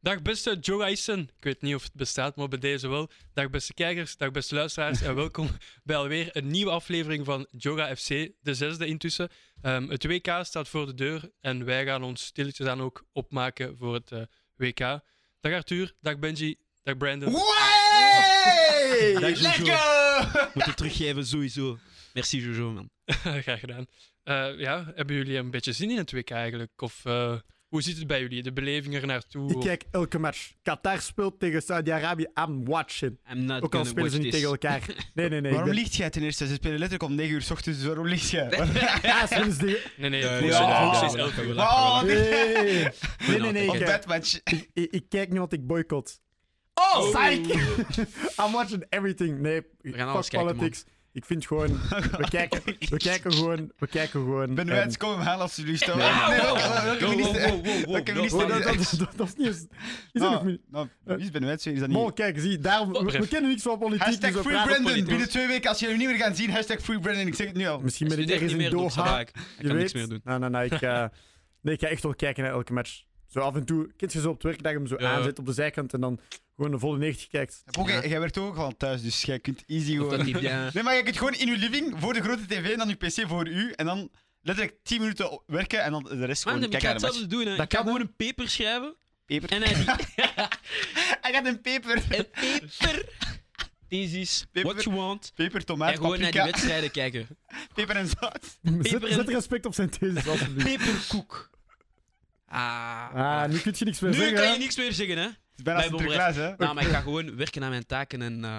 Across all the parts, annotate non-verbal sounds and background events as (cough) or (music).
Dag beste Joe Eisen. Ik weet niet of het bestaat, maar bij deze wel. Dag beste kijkers, dag beste luisteraars en welkom (laughs) bij alweer een nieuwe aflevering van Joga FC, de zesde intussen. Ehm, het WK staat voor de deur en wij gaan ons stilletjes aan ook opmaken voor het eh, WK. Dag Arthur, dag Benji, dag Brandon. Way! Dag, Jojo. Lekker! Moet het teruggeven, sowieso. Merci, Jojo, man. (laughs) Graag gedaan. Eh, ja, hebben jullie een beetje zin in het WK eigenlijk? Of eh, hoe zit het bij jullie? De beleving er naartoe? Ik kijk elke match. Qatar speelt tegen Saudi-Arabië. I'm watching. I'm not Ook al gonna spelen ze watch niet this. tegen (laughs) elkaar. Nee, nee, nee. Waarom ik ben- liegt jij ten eerste? Ze spelen letterlijk om 9 uur s ochtends, dus waarom liegt (laughs) jij? (laughs) Ja, soms die- Nee, nee, Ja, volgens ja, mij- ja, volgens mij is ja, elke ja, wel. Oh, nee. (laughs) Nee, nee, nee. nee, Op ik, eh, bedmatch. ik, ik kijk niet, want ik boycott. Oh! (laughs) Psych! I'm watching everything. Nee, we gaan alles kijken, politics. Ik (laughs) vind gewoon... We kijken, we kijken gewoon... We kijken gewoon... Ben ehm, Wens, kom hem halen alsjeblieft. Nee, maar- welke- welke Wow, wow, minister? wow, wow, wow. welke No, (laughs) minister- oh, no, dat, no. dat, dat, dat is niet... eens- Is dat Ah, nog niet... nou, Wie is Ben Wens? Is dat Mol, niet? kijk, zie, daarom, we, we Bref. kennen niks van politiek. Hashtag dus we Free praten Brandon. politiek. Binnen twee weken, als jullie hem niet meer gaan zien, hashtag Free Brandon. Ik zeg het nu al. Misschien ben Hij ik studeert ergens niet in meer, doe ik Doha. Sabah. Ik ik kan niks meer doen. Nee, nee, nee. (laughs) Ik, eh, nee, ik ga echt wel kijken naar elke match. Zo af en toe, kind je zo op het werk, dat je hem zo Ja. aanzet op de zijkant en dan gewoon een volle 90 kijkt. Heb ook- Jij werkt ook gewoon thuis, dus jij kunt easy Of dat gewoon... die- ja. Nee, maar je kunt gewoon in je living, voor de grote tv, en dan je pc voor u, en dan letterlijk 10 minuten op- werken, en dan de rest Man, gewoon ik kijken ga naar de match. hetzelfde doen. Hè. Dat Ik ga kan, gewoon een paper schrijven. Peper. (laughs) En hij die Hij gaat een peper. een paper. Thesis. Paper. What you want. Peper, En tomaat, gewoon naar die paprika, wedstrijden kijken. peper en zout. Zet, Peper en- zet respect op zijn thesis, (laughs) alsjeblieft. Peperkoek. Ah. Ah, nu kun je niks meer nu zeggen. kan hè. je niks meer zeggen, hè? Het is bijna Bij Sinterklaas, hè? Nou, maar ik ga gewoon werken aan mijn taken en eh,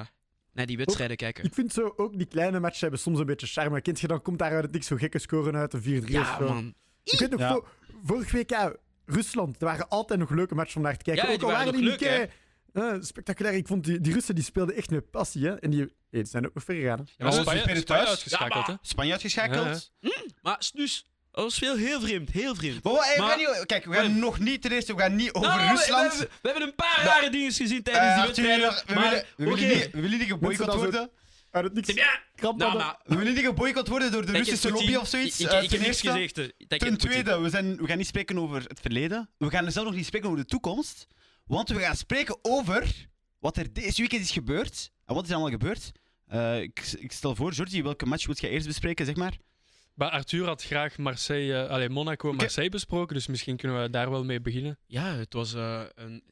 naar die wedstrijden kijken. Ik vind zo ook die kleine matchen hebben soms een beetje charme. Kind je, dan komt daar uit het niks zo gekke scoren uit, een 4-3 of Ja, zo. man. Ik weet nog, Ja. vor- vorig WK, Rusland, er waren altijd nog leuke matchen om naar te kijken. Ja, ook die al waren die waren niet nog leuk, kei- eh, spectaculair. Ik vond die, die Russen die speelden echt met passie. Hè? En die, hey, die zijn ook nog ver gegaan. hè. Ja, maar Oh, Spanje, Spanje Spanje thuis? uitgeschakeld, Ja, hè? Spanje uitgeschakeld. Ja, ja. Maar Snoes, dat was veel heel vreemd. Heel vreemd. Maar, wat- hey, we Maar- gaan niet- kijk, we gaan Wat? nog niet ten eerste, we gaan niet over Nou, we- Rusland. Nou, We, hebben- we hebben een paar rare dingen gezien tijdens Eh, die Arthur, wedstrijden. we, maar, willen, we, oké. willen niet, we willen niet geboycott Mensen dan zo- worden. Uit het niks. Ja, Krabben. nou, maar, We willen niet geboycott worden door de ik heb Russische Poetin- lobby of zoiets. Ik, ik, eh, ik ten heb niks eerste. gezegd. hè. Dat ik Ten heb Poetin. tweede, we, zijn, we gaan niet spreken over het verleden. We gaan zelf nog niet spreken over de toekomst. Want we gaan spreken over wat er deze weekend is gebeurd. En wat is er allemaal gebeurd? Eh, ik, ik stel voor, Jordi, welke match moet jij eerst bespreken, zeg maar? Maar Arthur had graag Marseille, eh, allee, Monaco en Oké. Marseille besproken, dus misschien kunnen we daar wel mee beginnen. Ja, het was eh, een,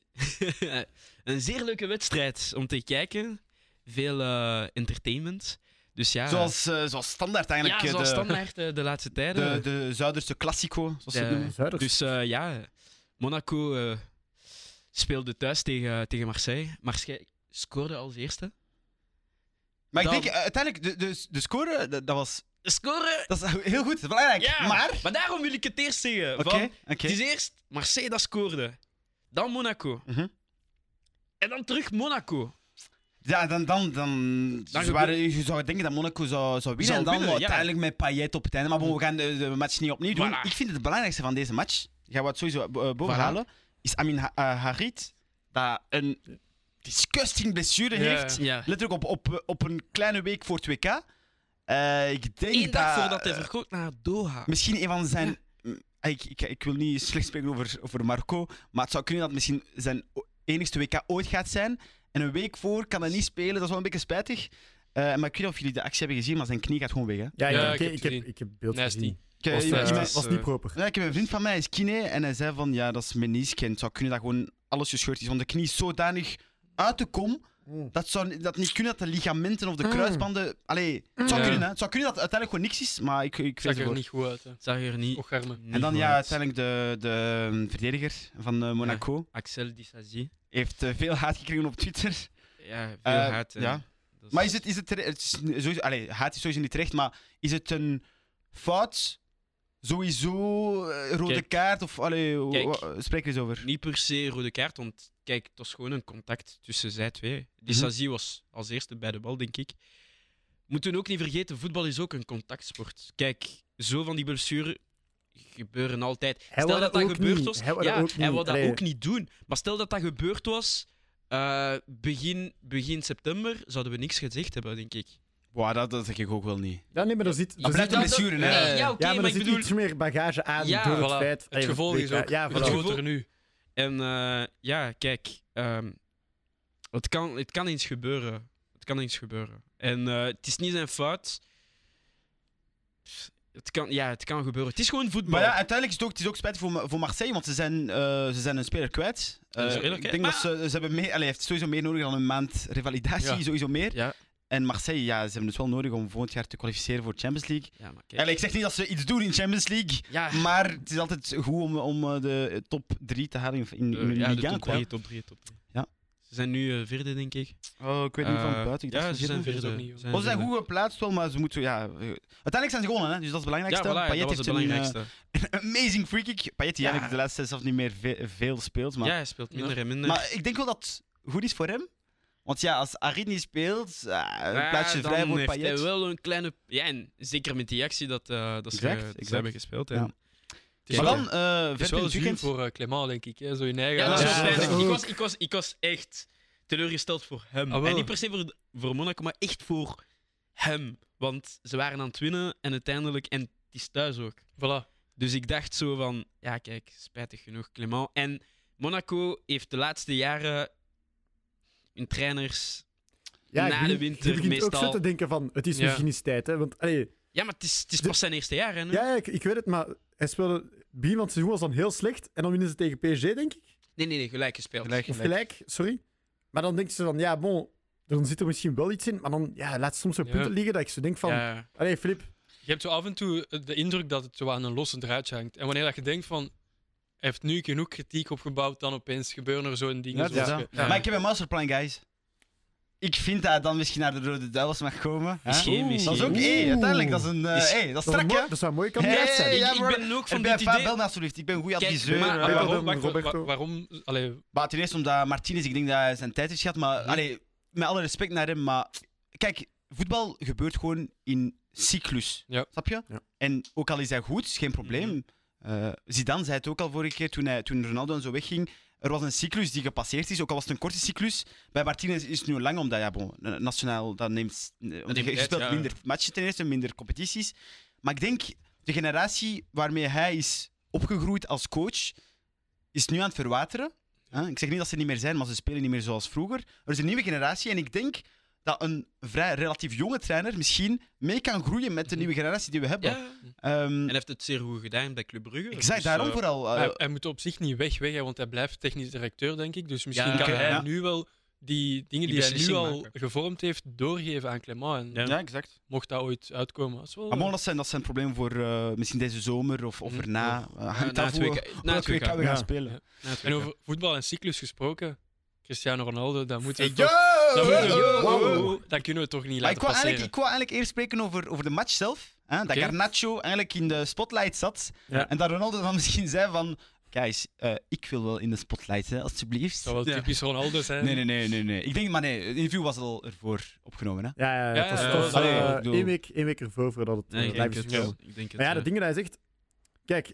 (laughs) een zeer leuke wedstrijd om te kijken. Veel eh, entertainment. Dus ja, Zoals, eh, zoals standaard eigenlijk. ja, eh, zoals de, standaard eh, de laatste tijden. de, de Zuiderse Classico, zoals ze het De- noemen. Zuiders. Dus eh, ja, Monaco eh, speelde thuis tegen, tegen Marseille. Marseille scoorde als eerste. Maar ik Dan- denk eh, uiteindelijk, de, de, de score, eh, dat, dat was, Scoren! dat is (laughs) heel goed, dat is belangrijk. Ja! Maar, Maar daarom wil ik het eerst zeggen. oké, van, oké. Het is eerst Marseille dat scoorde. Dan Monaco. Mhm. En dan terug Monaco. Ja, dan, dan, dan, Dan ze waren, je zou denken dat Monaco zou, zou winnen. Zou en dan winnen, ja. Mm. uiteindelijk met Payet op het einde. Maar bon, we gaan de, de match niet opnieuw doen. Voilà. Ik vind het belangrijkste van deze match, gaan we het sowieso eh, bo- eh, boven Voilà. halen, is Amin Ha- eh, Harit, dat een disgusting blessure Ja. heeft. Ja. Letterlijk op, op, op een kleine week voor het WK. Eh, ik denk Eén dag dat, voordat hij eh, verkoopt naar Doha. Misschien een van zijn. Mm, Ik, ik, ik wil niet slecht spreken over, over Marco, maar het zou kunnen dat het misschien zijn o- enigste WK ooit gaat zijn. En een week voor kan hij niet spelen, dat is wel een beetje spijtig. Eh, maar ik weet niet of jullie de actie hebben gezien, maar zijn knie gaat gewoon weg. Hè. ja, Ja, ja, ik ik, heb ik, het heb, gezien. ik heb beeld Nasty. gezien. Ik, eh, Was, iemand- eh, iemand- Het was niet proper. ja, ik heb een vriend van mij, hij is kine, en hij zei van ja, dat is meniscus. En het zou kunnen dat gewoon alles gescheurd is, want de knie is zodanig uit de kom. Mm. Dat zou dat niet kunnen dat de ligamenten of de Mm. kruisbanden. Allee, het zou Ja. kunnen, hè. Het zou kunnen dat het uiteindelijk gewoon niks is, maar ik, ik Zag vrees er ervoor. niet goed uit, hè. Zag er niet. Och, arme. niet En dan goed ja, uit. uiteindelijk de, de mm, verdediger van eh, Monaco Axel Dissazi. heeft eh, veel haat gekregen op Twitter. Ja, veel Eh, haat. eh, ja. dat Maar is het, is het, tere- het is sowieso, allee, haat is sowieso niet terecht, maar is het een fout? Sowieso eh, rode Kijk. kaart of allee, wa- Kijk. wa- spreek er eens over. Niet per se rode kaart, want kijk, het was gewoon een contact tussen zij twee. Die Mhm. Sazi was als eerste bij de bal, denk ik. Moeten we ook niet vergeten, voetbal is ook een contactsport. Kijk, zo van die blessuren gebeuren altijd. Hij stel wou dat dat dat ook gebeurd niet. was, Hij wou ja, dat ook hij niet. wou dat Allee. ook niet doen. Maar stel dat dat gebeurd was, eh, begin, begin september, zouden we niks gezegd hebben, denk ik. Wow, dat, dat zeg ik ook wel niet. Ja, nee, maar er zit... Dat er blijft zit- een blessure, hè? Nee, ja, oké, ja, maar maar er ik zit bedoel... iets meer bagage aan Ja, door voilà. het feit... Het gevolg is ook, Ja, het voilà. gebeurt er nu. En eh, ja, kijk, ehm, het, kan, het kan eens gebeuren. Het kan eens gebeuren. En eh, het is niet zijn fout. Pff, Het kan, ja, het kan gebeuren. Het is gewoon voetbal. Maar ja, uiteindelijk is het ook, het is ook spijtig voor, Ma- voor Marseille, want ze zijn, eh, ze zijn een speler kwijt. Eh, Een speler ik kwijt, denk dat ze, ze hebben meer, allee, hij heeft sowieso meer nodig dan een maand revalidatie, Ja. sowieso meer. Ja, En Marseille, ja, ze hebben het wel nodig om volgend jaar te kwalificeren voor de Champions League. ja, maar kijk. Allee, ik zeg niet dat ze iets doen in de Champions League, Ja, maar het is altijd goed om, om eh, de top 3 te halen in, in, in eh, ja, de de Liga. top qua- 3, top 3, top 3. Ja. Ze zijn nu eh, vierde, denk ik. Oh, ik weet niet van Eh, buiten. Ik dacht ja, van ze vierde. vierde. zijn vierde. Weet het ook niet, hoor. Oh, ze zijn vierde. goed geplaatst wel, maar ze moeten... Ja, eh, uiteindelijk zijn ze gewonnen, hè, dus dat is het Ja, belangrijkste. voilà, dat Payet was heeft het een, eh, (laughs) belangrijkste. amazing free kick. Payet die Ja. eigenlijk de laatste zelf niet meer ve- veel speelt, maar... ja, hij speelt minder en minder. Maar ik denk wel dat het goed is voor hem. Want ja, als Arid niet speelt, ah, een Ja, plaatsje vrij dan voor heeft hij Payet. wel een kleine... Ja, en zeker met die actie dat, eh, dat, ze, Exact, dat ze exact. hebben gespeeld. Ja. En... Het is Maar wel- dan, eh het is vet wel in het zuur weekend. voor eh, Clément, denk ik. Hè? Zo in eigen Ja, dat huis. is wel Ja, pijnlijk. dat Ik ook. was, ik, was, ik was echt teleurgesteld voor hem. Ah, wel. en niet per se voor, voor Monaco, maar echt voor hem. Want ze waren aan het winnen en uiteindelijk... En het is thuis ook. Voilà. Dus ik dacht zo van... Ja, kijk, spijtig genoeg, Clement. En Monaco heeft de laatste jaren hun trainers... Ja, Na ik begin- de winter je begint ook meestal. zo te denken van, het is Ja. misschien eens tijd. Hè? Want, allee, Ja, maar het is, het is De- pas zijn eerste jaar, hè? nu? ja, ja, ik, ik weet het, maar hij speelde... Begin van het seizoen was dan heel slecht. En dan winnen ze tegen PSG, denk ik. Nee, nee, nee, gelijk gespeeld. Gelijk, Of gelijk. gelijk, sorry. Maar dan denkt ze van, ja, bon, dan zit er misschien wel iets in. Maar dan ja, laat soms zo Ja. punten liggen dat ik zo denk van... Ja. Allee, Filip, Je hebt zo af en toe eh, de indruk dat het zo aan een losse draadje hangt. En wanneer dat je denkt van, hij heeft nu genoeg kritiek opgebouwd, dan opeens gebeuren er zo'n dingen. Ja, zoals dat is je- dat. Maar ik heb een masterplan, guys. Ik vind dat hij dan misschien naar de Rode Duivels mag komen. hè. Misschien, Oeh, Dat misschien. is ook, Oeh. hey, uiteindelijk, dat is een... eh, Is- hey, dat is dat zou strak, mooi- hè? dat zou een mooie Hey, kandidaat zijn. ja, ik, ik maar- ben ook En van dit BFA, idee... bel me alsjeblieft. Ik ben een goede Kijk, adviseur. maar- hè. Maar Ja, waarom? dat- wacht, wa- wa- Roberto. waarom allee, Maar ten eerste omdat Martinez, ik denk dat hij zijn tijd heeft gehad. Maar Mhm. allee, met alle respect naar hem, maar kijk, voetbal gebeurt gewoon in cyclus. Ja. Snap je? Ja. En ook al is hij goed, is geen probleem. Eh, Zidane zei het ook al vorige keer toen, hij, toen Ronaldo en zo wegging. Er was een cyclus die gepasseerd is, ook al was het een korte cyclus. Bij Martinez is het nu lang, omdat ja, bon, eh, nationaal dat neemt. eh, omdat neemt je je tijd, speelt ja. minder matchen ten eerste, minder competities. Maar ik denk, de generatie waarmee hij is opgegroeid als coach, is nu aan het verwateren. Hè? Ik zeg niet dat ze niet meer zijn, maar ze spelen niet meer zoals vroeger. Er is een nieuwe generatie en ik denk dat een vrij relatief jonge trainer misschien mee kan groeien met de nieuwe generatie die we hebben. Ja. Ehm, En hij heeft het zeer goed gedaan bij Club Brugge. ik zeg Dus, daarom eh, vooral. eh, hij, hij moet op zich niet weg, weg hè, want hij blijft technisch directeur, denk ik. Dus misschien Ja, kan oké, hij ja. nu wel die dingen die, Die hij nu beslissing al maken. gevormd heeft, doorgeven aan Clément. En Ja. ja, exact. mocht dat ooit uitkomen. Dat is wel, Maar bon, Ah, dat zijn, dat zijn problemen voor eh, misschien deze zomer of, of Mhm. erna. Eh, (laughs) hangt na af het hoe- WK hoe na dat het WK we WK. gaan Ja. spelen. Ja. Na het En WK. over voetbal en cyclus gesproken, Cristiano Ronaldo, dat moeten we Hey, toch- yo! dat, moeten we- Yo! dat kunnen we toch niet Maar laten ik wou, passeren. eigenlijk, ik wou eigenlijk eerst spreken over, over de match zelf. Hè, Dat Oké. Garnacho eigenlijk in de spotlight zat. Ja. En dat Ronaldo dan (laughs) misschien zei van... Guys, eh, ik wil wel in de spotlight, hè, alstublieft. Dat zou wel Ja. typisch Ronaldo zijn. Nee, nee, nee, nee, nee. Ik denk, maar nee, het interview was al ervoor opgenomen. Hè? Ja, Ja, ja, ja, het was, ja, het ja. was, Allee, eh, ik bedoel- één, week, één week ervoor voordat het Nee, eh, ik live denk is het. gekomen. Ik denk het. Maar ja, de eh. dingen die hij zegt... Kijk,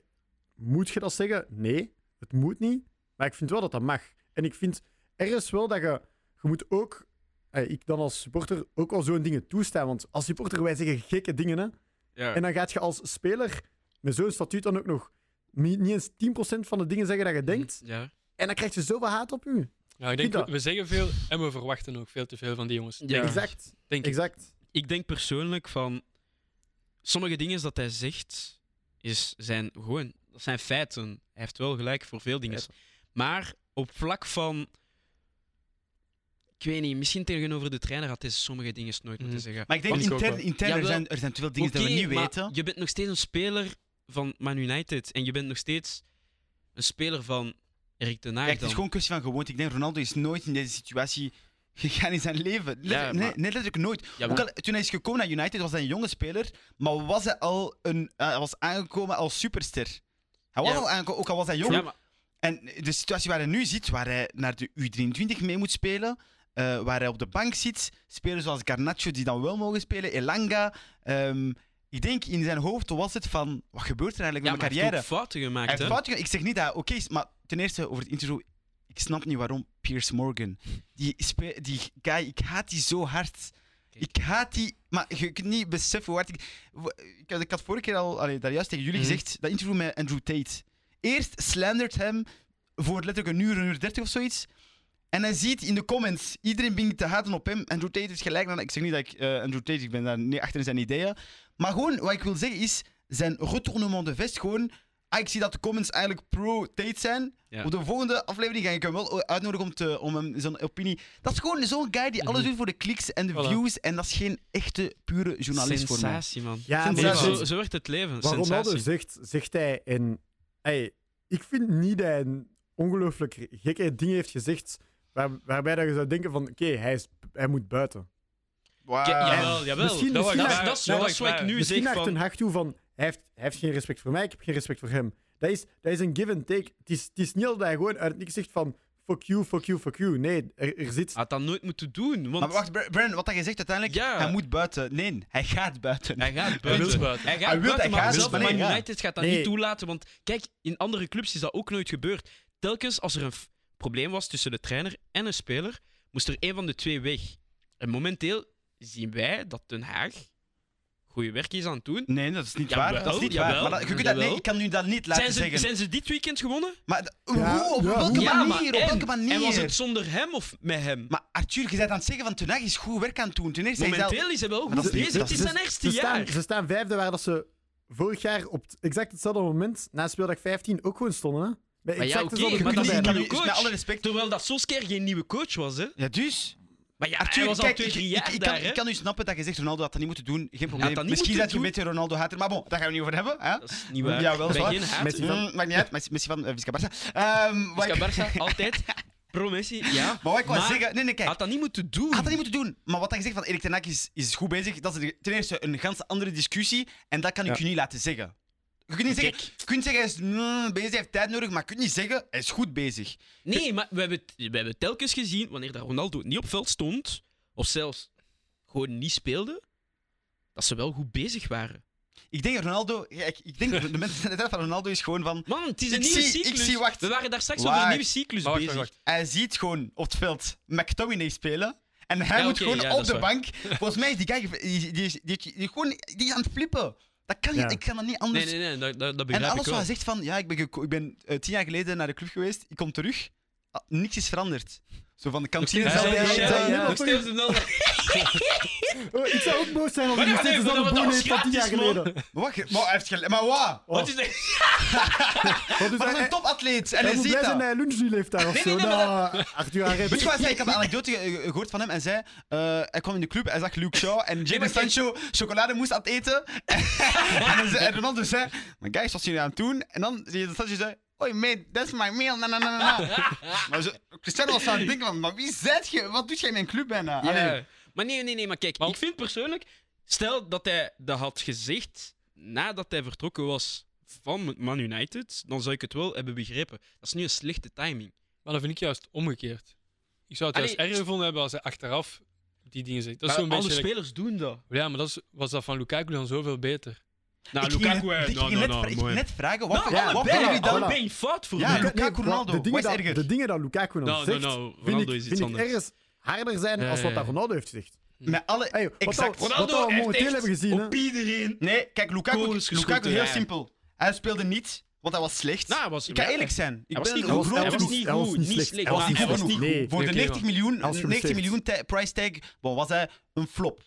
moet je dat zeggen? Nee, het moet niet. Maar ik vind wel dat dat mag. En ik vind ergens wel dat je... Je moet ook... eh, ik dan als supporter ook al zo'n dingen toestaan. Want als supporter, wij zeggen gekke dingen, hè. Ja. En dan gaat je als speler met zo'n statuut dan ook nog niet, niet eens 10% van de dingen zeggen dat je denkt. Mhm. Ja. En dan krijg je zoveel haat op je. Ja, Nou, ik denk, Vind we, dat- we zeggen veel en we verwachten ook veel te veel van die jongens. Ja. Denk, Exact. denk ik. Exact. Ik denk persoonlijk van... Sommige dingen dat hij zegt, is, zijn gewoon... Dat zijn feiten. Hij heeft wel gelijk voor veel dingen. Maar op vlak van... Ik weet niet, misschien tegenover de trainer had hij sommige dingen nooit moeten Mhm. zeggen. Maar ik denk, Vond ik ook intern, wel. intern er, Jawel. zijn, er zijn te veel dingen Oké, die we niet maar weten. Je bent nog steeds een speler van Man United. En je bent nog steeds een speler van Erik ten Hag Kijk, het is dan. gewoon een kwestie van gewoonte. Ik denk, Ronaldo is nooit in deze situatie gegaan in zijn leven. Letter- Ja, maar- nee, nee, letterlijk nooit. Ja, Ook al, toen hij is gekomen naar United was hij een jonge speler, maar was hij al een, eh, hij was aangekomen als superster. Hij was Ja. al aangekomen, ook al was hij jong. ja, maar En de situatie waar hij nu zit, waar hij naar de U23 mee moet spelen, eh, waar hij op de bank zit, spelers zoals Garnacho die dan wel mogen spelen, Elanga. ehm, ik denk in zijn hoofd was het van, wat gebeurt er eigenlijk ja, met mijn maar hij carrière? heeft ook fouten gemaakt. Hij heeft hè? fout gedaan. Ik zeg niet dat hij oké is, maar ten eerste over het interview. Ik snap niet waarom Piers Morgan. Die, spe- die guy, ik haat die zo hard. Kijk. Ik haat die. Maar je kunt niet beseffen hoe hard ik. w- Ik, had- ik had vorige keer al allee, daar juist tegen jullie Mhm. gezegd. Dat interview met Andrew Tate. Eerst slandert hem voor letterlijk een uur, een uur dertig of zoiets. En hij ziet in de comments iedereen begint te haten op hem. Andrew Tate is gelijk. aan- Ik zeg niet dat ik eh Andrew Tate, ik ben daar niet achter in zijn ideeën. Maar gewoon, wat ik wil zeggen is, zijn retournement de vest gewoon... Ah, ik zie dat de comments eigenlijk pro-Tate zijn. Ja. Op de volgende aflevering ga ik hem wel uitnodigen om, te, om hem zijn opinie... Dat is gewoon zo'n guy die alles Mhm. doet voor de kliks en de Voilà. views. En dat is geen echte, pure journalist voor mij. Sensatie, man. Ja, Sensatie. maar- Ja, zo, zo werkt het leven. Wat Ronaldo Sensatie. zegt, zegt hij. En ey, ik vind niet dat hij een ongelooflijk gekke ding heeft gezegd. Waar, waarbij dat je zou denken: van oké, hij, is- hij moet buiten. Wow. Ja, Ah, jawel, jawel. Misschien- dat, misschien dat- naar- dat is, naar- dat is wat ik nu Misschien zeg. naar Ten Van, Hag toe van: hij heeft, hij heeft geen respect voor mij, ik heb geen respect voor hem. Dat is, dat is een give and take. Het is, het is niet dat hij gewoon uit het niks zegt van: fuck you, fuck you, fuck you. Nee, er, er zit. had dat nooit moeten doen. Want Maar wacht, Br- Brennan, wat je zegt uiteindelijk, Ja. hij moet buiten. Nee, hij gaat buiten. hij gaat Hij wil buiten. buiten. Hij gaat Hij wil, buiten, hij maar gaat, zelf maar nee, Man ja. United gaat dat Nee. niet toelaten. Want kijk, in andere clubs is dat ook nooit gebeurd. Telkens als er een f- probleem was tussen de trainer en een speler, moest er een van de twee weg. En momenteel zien wij dat Den Haag goede werk is aan het doen. Nee, dat is niet Jawel, waar. Dat is niet waar. jawel, Maar dat- je kunt dat, nee, jawel. ik kan nu dat niet laten Zijn ze, zeggen. zijn ze dit weekend gewonnen? Maar d- Ja, hoe? Op ja, welke hoe? Ja, manier? maar op en, welke manier? en was het zonder hem of met hem? Maar Arthur, je bent aan het zeggen van Tenag is goed werk aan het doen. Ten eerste, hij is al- Momenteel is hij wel Maar dat goed is- bezig. dat Het is- is zijn eerste Ze jaar. staan, ze staan vijfde waar dat ze vorig jaar op t- exact hetzelfde moment, na speeldag 15, ook gewoon stonden. Hè? Bij Maar ja, exact oké, dezelfde je maar groep kunt dat is niet, een erbij. kan nieuwe nu- coach. met alle respect. Terwijl dat Solskjaer geen nieuwe coach was, hè. Ja, dus. Maar ja, Arthur, hij was al kijk, twee, ik- drie ik, jaar ik, daar, kan, hè. ik kan dus snappen dat je zegt Ronaldo had dat niet moeten doen. Geen dat probleem. niet Misschien moeten dat je doen. met Ronaldo hater. Maar bon, daar gaan we niet over hebben. Hè? Dat is niet waar. Ja, wel Ik ben waar. geen hater. Messi van- Mm, maakt niet uit. Messi- Messi van eh, Visca Barça. Ehm, wat ik- Oscar Barca, Dus altijd. Pro Messi, ja. (laughs) Maar wat ik wou Maar- zeggen... Nee, nee, kijk. Had dat niet moeten doen. Had dat niet moeten doen. Maar wat hij zegt van Erik ten Hag is, is goed bezig. Dat is een- ten eerste een ganz andere discussie. En dat kan ik Ja. je niet laten zeggen. Je kunt niet Kijk. zeggen, je kunt zeggen hij is mm, bezig, hij heeft tijd nodig. Maar je kunt niet zeggen, hij is goed bezig. Nee, maar we hebben, het- we hebben telkens gezien, wanneer dat Ronaldo niet op veld stond, of zelfs gewoon niet speelde, dat ze wel goed bezig waren. Ik denk Ronaldo... ja, ik, ik denk de mensen zijn het uit van Ronaldo is gewoon van... Man, het is Ik een nieuwe zie- ik cyclus. zie- wacht. We waren daar straks Wacht. over een nieuwe cyclus Maar wacht, bezig. wacht, Hij ziet gewoon op het veld McTominay spelen. En hij Ja, moet oké, gewoon ja, op dat is de waar. (laughs) bank. Volgens mij is die guy... ge- Die, die, is- die, die- die gewoon, die is aan het flippen. Dat kan Ja. niet, ik kan dat niet anders... Nee, nee, nee, dat, dat, dat En begrijp alles ik wel. wat hij zegt van, ja, ik ben, geko- ik ben eh, tien jaar geleden naar de club geweest, ik kom terug, ah, niks is veranderd. Zo van de kantine Nog zal steeds hij dezelfde altijd- shit, ja. Nog steeds dezelfde- Oh, ik zou ook boos zijn Maar als hij nee, nog steeds maar dezelfde dat- dat boon was heeft van tien jaar gratis, geleden. Maar wacht, maar hij heeft gelijk- maar wat? Oh. Wat is dat? Wat is Maar dat is hij- een topatleet en hij hij moet ziet blij zijn dat. dat hij lunch niet leeft daar of Nee, zo. nee, nee, maar Nou, Arthur Arret. Weet je wat hij zei? Ik heb (laughs) een anekdote eh, gehoord van hem. Hij zei, eh, hij kwam in de club, hij zag Luke Shaw en Jadon maar kijk- Sancho chocolademoes aan het eten. (laughs) en, hij zei, en Ronaldo zei, maar guys, wat jullie aan het doen? En dan Jadon Sancho zei, Oei, mate, that's my meal. Na, na, na, na, (laughs) na. maar zo, Cristiano was aan het denken van, maar wie zet je? Wat doet jij in mijn club bijna? Allee. Ja. Maar nee, nee, nee, maar kijk, ik vind persoonlijk, stel dat hij dat had gezegd nadat hij vertrokken was van Man United, dan zou ik het wel hebben begrepen. Dat is nu een slechte timing. Maar dat vind ik juist omgekeerd. Ik zou het juist Allee, erger gevonden hebben als hij achteraf die dingen zegt. Dat is Maar zo'n alle beetje... like- spelers doen dat. Ja, maar dat is- was dat van Lukaku dan zoveel beter. Nou, Ik ging Lukaku, net- eh, ik nou, ging nou, net nou, vra- ik mooi. ging net vragen, wat Nou, wat- wat allebei, vinden jullie dan? voilà. allebei fout voor Ja, mij. Lukaku, Ronaldo, de dingen, wat is dat, erger? de dingen dat Lukaku dan Nou, nou, zegt, nou, vind ik, Ronaldo is iets vind ik anders. ergens harder zijn Ja, als wat ja, ja. dat Ronaldo heeft gezegd. Met alle... Hey, wat exact. dat- Wat we momenteel hebben gezien, hè. op iedereen. Nee, kijk, Lukaku, Goals Lukaku geschoten, heel ja. simpel. Hij speelde niet, want hij was slecht. Nou, hij was- ik kan ja, eerlijk zijn. Ik was ben niet een goed. grote Hij was ploeg. niet hij was goed, niet slecht, Hij was maar niet hij was slecht. niet Nee. Voor de oké, 90 miljoen, Als je 90 beseft. miljoen ti- price tag bon, was hij een flop.